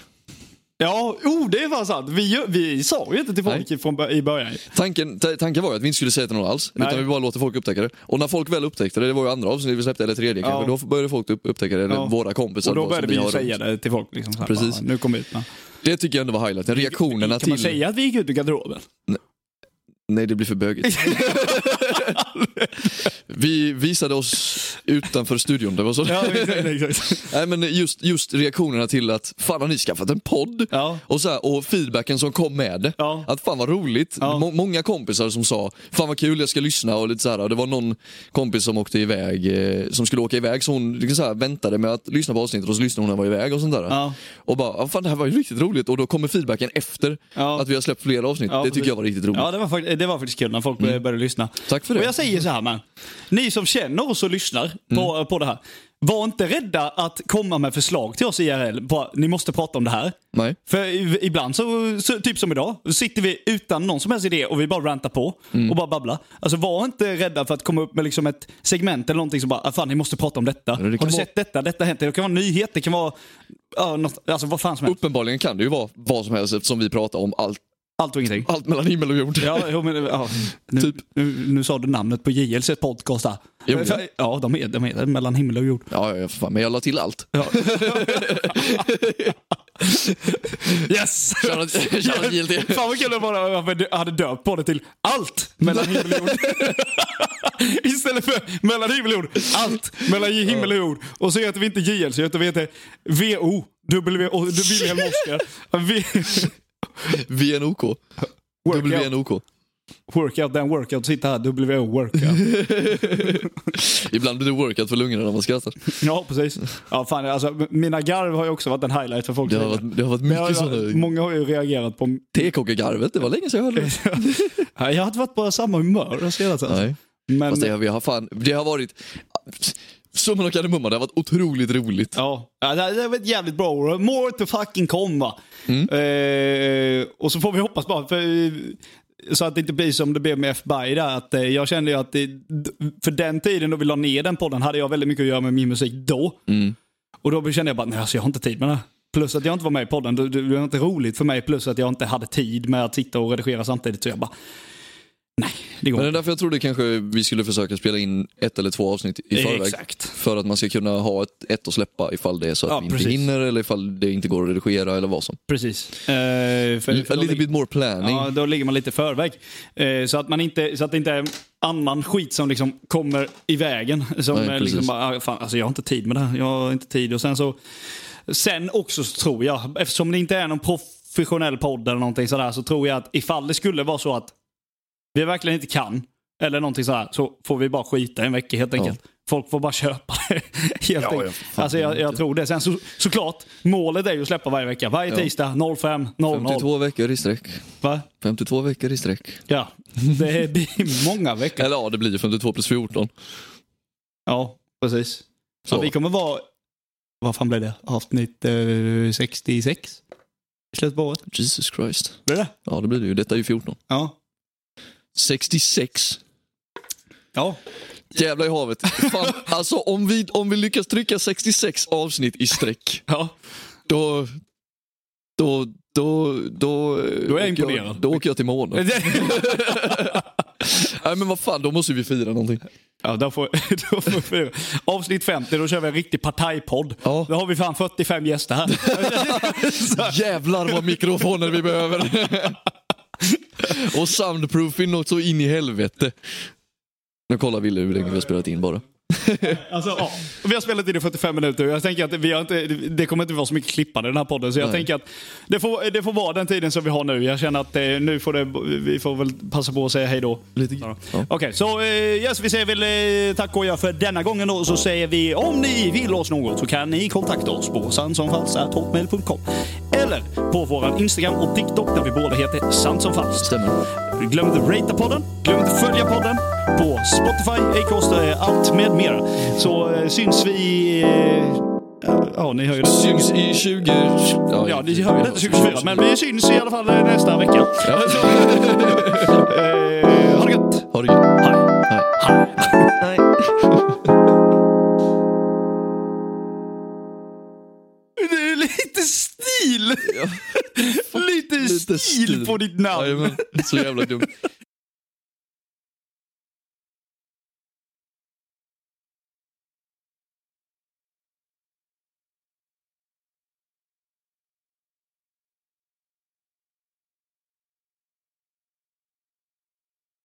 Speaker 1: Ja, oh, det är fan sant. Vi, gör- vi sa ju inte till folk från, bör- i början.
Speaker 2: Tanken, ta- tanken var ju att vi inte skulle säga det till någon alls,
Speaker 1: Nej.
Speaker 2: utan vi bara låter folk upptäcka det. Och när folk väl upptäckte det, det var ju andra avsnittet vi släppte, eller tredje kanske, då började folk upp, upptäcka det, eller
Speaker 1: Ja.
Speaker 2: våra kompisar.
Speaker 1: Och då
Speaker 2: som
Speaker 1: började vi ju
Speaker 2: har
Speaker 1: säga
Speaker 2: runt.
Speaker 1: det till folk. Liksom, såhär,
Speaker 2: Precis.
Speaker 1: bara, Nu kommer ut med.
Speaker 2: Det tycker jag ändå var highlighten, reaktionerna
Speaker 1: Kan man
Speaker 2: till...
Speaker 1: säga att vi gick ut ur
Speaker 2: *laughs*
Speaker 1: garderoben?
Speaker 2: Nej, det blir
Speaker 1: *laughs*
Speaker 2: för bögigt. vi visade oss utanför studion, det var så.
Speaker 1: *laughs* Ja, exakt. exakt.
Speaker 2: Nej, men just, just reaktionerna till att, fan har ni skaffat en podd?
Speaker 1: Ja.
Speaker 2: Och, så här, och feedbacken som kom med det.
Speaker 1: Ja.
Speaker 2: Att fan vad roligt.
Speaker 1: Ja.
Speaker 2: Må- många kompisar som sa, fan vad kul jag ska lyssna och lite så här. Och det var någon kompis som åkte iväg, eh, som skulle åka iväg så hon liksom så här, väntade med att lyssna på avsnittet och så lyssnade hon när hon var iväg och sånt där.
Speaker 1: Ja.
Speaker 2: Och bara, "Ja, fan det här var ju riktigt roligt. Och då kommer feedbacken efter
Speaker 1: Ja.
Speaker 2: att vi har släppt flera avsnitt.
Speaker 1: Ja,
Speaker 2: det
Speaker 1: precis.
Speaker 2: tycker jag var riktigt roligt. Mm.
Speaker 1: Ja, det var, fakt- det var faktiskt kul när folk började- började lyssna.
Speaker 2: Tack för det.
Speaker 1: Och jag säger så här man. Ni som känner oss och lyssnar
Speaker 2: Mm.
Speaker 1: på, på det här. Var inte rädda att komma med förslag till oss IRL. Bara, ni måste prata om det här.
Speaker 2: Nej.
Speaker 1: För i- ibland så, så, typ som idag, så sitter vi utan någon som helst idé och vi bara rantar på
Speaker 2: Mm.
Speaker 1: och bara babblar. Alltså var inte rädda för att komma upp med liksom ett segment eller någonting som bara, ah, fan ni måste prata om detta. Har
Speaker 2: det kan
Speaker 1: du
Speaker 2: vara-
Speaker 1: sett detta? Detta har hänt. Det kan vara en nyhet, det kan vara, ja, något, alltså vad fan som helst.
Speaker 2: Uppenbarligen kan det ju vara vad som helst eftersom vi pratar om allt,
Speaker 1: Allt och ingenting.
Speaker 2: allt mellan himmel och jord.
Speaker 1: Ja, jo, men, ja. Nu,
Speaker 2: Typ.
Speaker 1: nu, nu sa du namnet på JLs podcast där.
Speaker 2: Jo,
Speaker 1: ja. ja, de är, de är mellan himmel och jord.
Speaker 2: Ja, ja, ja, för fan, men jag la till allt. *laughs*
Speaker 1: Yes!
Speaker 2: Shoutout- shoutout JLT.
Speaker 1: *laughs* Fan vad kul det var att jag hade döpt på det till allt
Speaker 2: *laughs*
Speaker 1: mellan himmel och jord. *laughs* Istället för mellan himmel och jord, allt mellan himmel och jord. Och så heter vi inte JLC, utan vi heter VO, W, och Wilhelm Oskar. V-
Speaker 2: VNOK.
Speaker 1: Workout.
Speaker 2: WNOK.
Speaker 1: *laughs* Workout den workout sitter här, WO
Speaker 2: *laughs*
Speaker 1: workout.
Speaker 2: Ibland blir det workout för lungorna när man skrattar.
Speaker 1: ja, precis. Ja, fan, alltså, mina garv har ju också varit en highlight för folk.
Speaker 2: Det har varit, det har varit
Speaker 1: Det har ju
Speaker 2: mycket
Speaker 1: varit-
Speaker 2: sådana.
Speaker 1: många har ju reagerat på...
Speaker 2: Tekockegarvet, det var länge sedan jag hörde det.
Speaker 1: *laughs* Ja, jag har inte varit på samma humör den senaste. Alltså.
Speaker 2: Nej.
Speaker 1: Men,
Speaker 2: Fast det har, vi har fan, det har varit... Summan och kardemumman, det har varit otroligt roligt.
Speaker 1: Ja, Ja, det det var ett jävligt bra år. More to fucking komma. Eh, och så får vi hoppas bara, för, eh, så att det inte blir som det blev med FBI där. Att, eh, jag kände ju att det, för den tiden då vi la ner den podden hade jag väldigt mycket att göra med min musik då. Och då kände jag bara, nej alltså jag har inte tid med det här. Plus att jag inte var med i podden, det, det var inte roligt för mig. Plus att jag inte hade tid med att sitta och redigera samtidigt. Så jag bara, nej, det går
Speaker 2: Men det
Speaker 1: inte.
Speaker 2: är därför jag trodde kanske vi skulle försöka spela in ett eller två avsnitt i förväg.
Speaker 1: Exakt.
Speaker 2: För att man ska kunna ha ett, ett att släppa ifall det är så att
Speaker 1: Ja,
Speaker 2: vi inte
Speaker 1: precis.
Speaker 2: hinner eller ifall det inte går att redigera eller vad som.
Speaker 1: Precis. Eh, för,
Speaker 2: A
Speaker 1: för då
Speaker 2: little bit more planning.
Speaker 1: Ja, då ligger man lite i förväg. Eh, så, att man inte, så att det inte är annan skit som liksom kommer i vägen. Som
Speaker 2: Nej,
Speaker 1: är liksom
Speaker 2: precis.
Speaker 1: bara, ah, fan, alltså jag har inte tid med det här. Jag har inte tid. Och sen så, sen också så tror jag, eftersom det inte är någon professionell podd eller någonting sådär, så tror jag att ifall det skulle vara så att vi verkligen inte kan, eller någonting sådär, så får vi bara skita en vecka helt enkelt. Folk får bara köpa det. *laughs* Helt
Speaker 2: ja,
Speaker 1: enkelt.
Speaker 2: fan,
Speaker 1: alltså jag, jag tror det. Sen så, såklart, målet är ju att släppa varje vecka. Varje
Speaker 2: Ja.
Speaker 1: tisdag 05.00.
Speaker 2: 52 veckor i sträck.
Speaker 1: Va?
Speaker 2: 52 veckor i sträck.
Speaker 1: Ja, *laughs* det blir många veckor.
Speaker 2: Eller ja, det blir ju 52 plus 14.
Speaker 1: Ja, precis. Så
Speaker 2: Så.
Speaker 1: vi kommer vara... Vad fan blev det? Avsnitt eh, 66? I slutet på året?
Speaker 2: Jesus Christ.
Speaker 1: Blir det?
Speaker 2: Ja, det blir det ju. Detta är ju 14.
Speaker 1: Ja.
Speaker 2: 66.
Speaker 1: Ja.
Speaker 2: Jävlar i havet. Fan, *laughs* alltså om vi, om vi lyckas trycka 66 avsnitt i sträck,
Speaker 1: *laughs* ja.
Speaker 2: då... Då... Då... Då, då
Speaker 1: är jag imponerad.
Speaker 2: jag, Då åker jag till månen. Nej men vad fan, då måste vi fira
Speaker 1: *laughs*
Speaker 2: någonting.
Speaker 1: ja då får, då får vi, avsnitt 50, då kör vi en riktig partajpodd.
Speaker 2: Ja.
Speaker 1: Då har vi fan 45 gäster här.
Speaker 2: Jävlar vad mikrofoner
Speaker 1: *laughs*
Speaker 2: vi behöver. Och soundproofing något så in i helvete. Nu kollar Wille hur länge vi har spelat in bara.
Speaker 1: Alltså, ja. Vi har spelat in i 45 minuter och jag tänker att vi har inte, det kommer inte vara så mycket klippande i den här podden. Så jag
Speaker 2: Nej.
Speaker 1: tänker att det får, det får vara den tiden som vi har nu. Jag känner att eh, nu får det, vi får väl passa på att säga hej då.
Speaker 2: Lite
Speaker 1: Ja.
Speaker 2: grann.
Speaker 1: Okej, så eh, yes, vi säger väl eh, tack och gör för denna gången då. Så säger vi om ni vill oss något så kan ni kontakta oss på sandsomfalskt.hotmail.com eller på våran Instagram och TikTok där vi båda heter sandsomfalskt.
Speaker 2: Stämmer.
Speaker 1: Glöm inte ratea podden, glöm inte följa podden på Spotify, Acast, eh, allt med mera. Så eh, syns vi... eh, Ja, ni hör ju det.
Speaker 2: Syns i 20... Ja,
Speaker 1: Ja, ni hör ju det 2024, men vi syns i alla fall eh, nästa vecka.
Speaker 2: Ja.
Speaker 1: Eh, Ha det gött!
Speaker 2: Ha det gött.
Speaker 1: Hej!
Speaker 2: Hej.
Speaker 1: Det är lite stil! lite, *laughs*
Speaker 2: Lite
Speaker 1: stil på ditt namn.
Speaker 2: Jajamän. Så jävla dumt.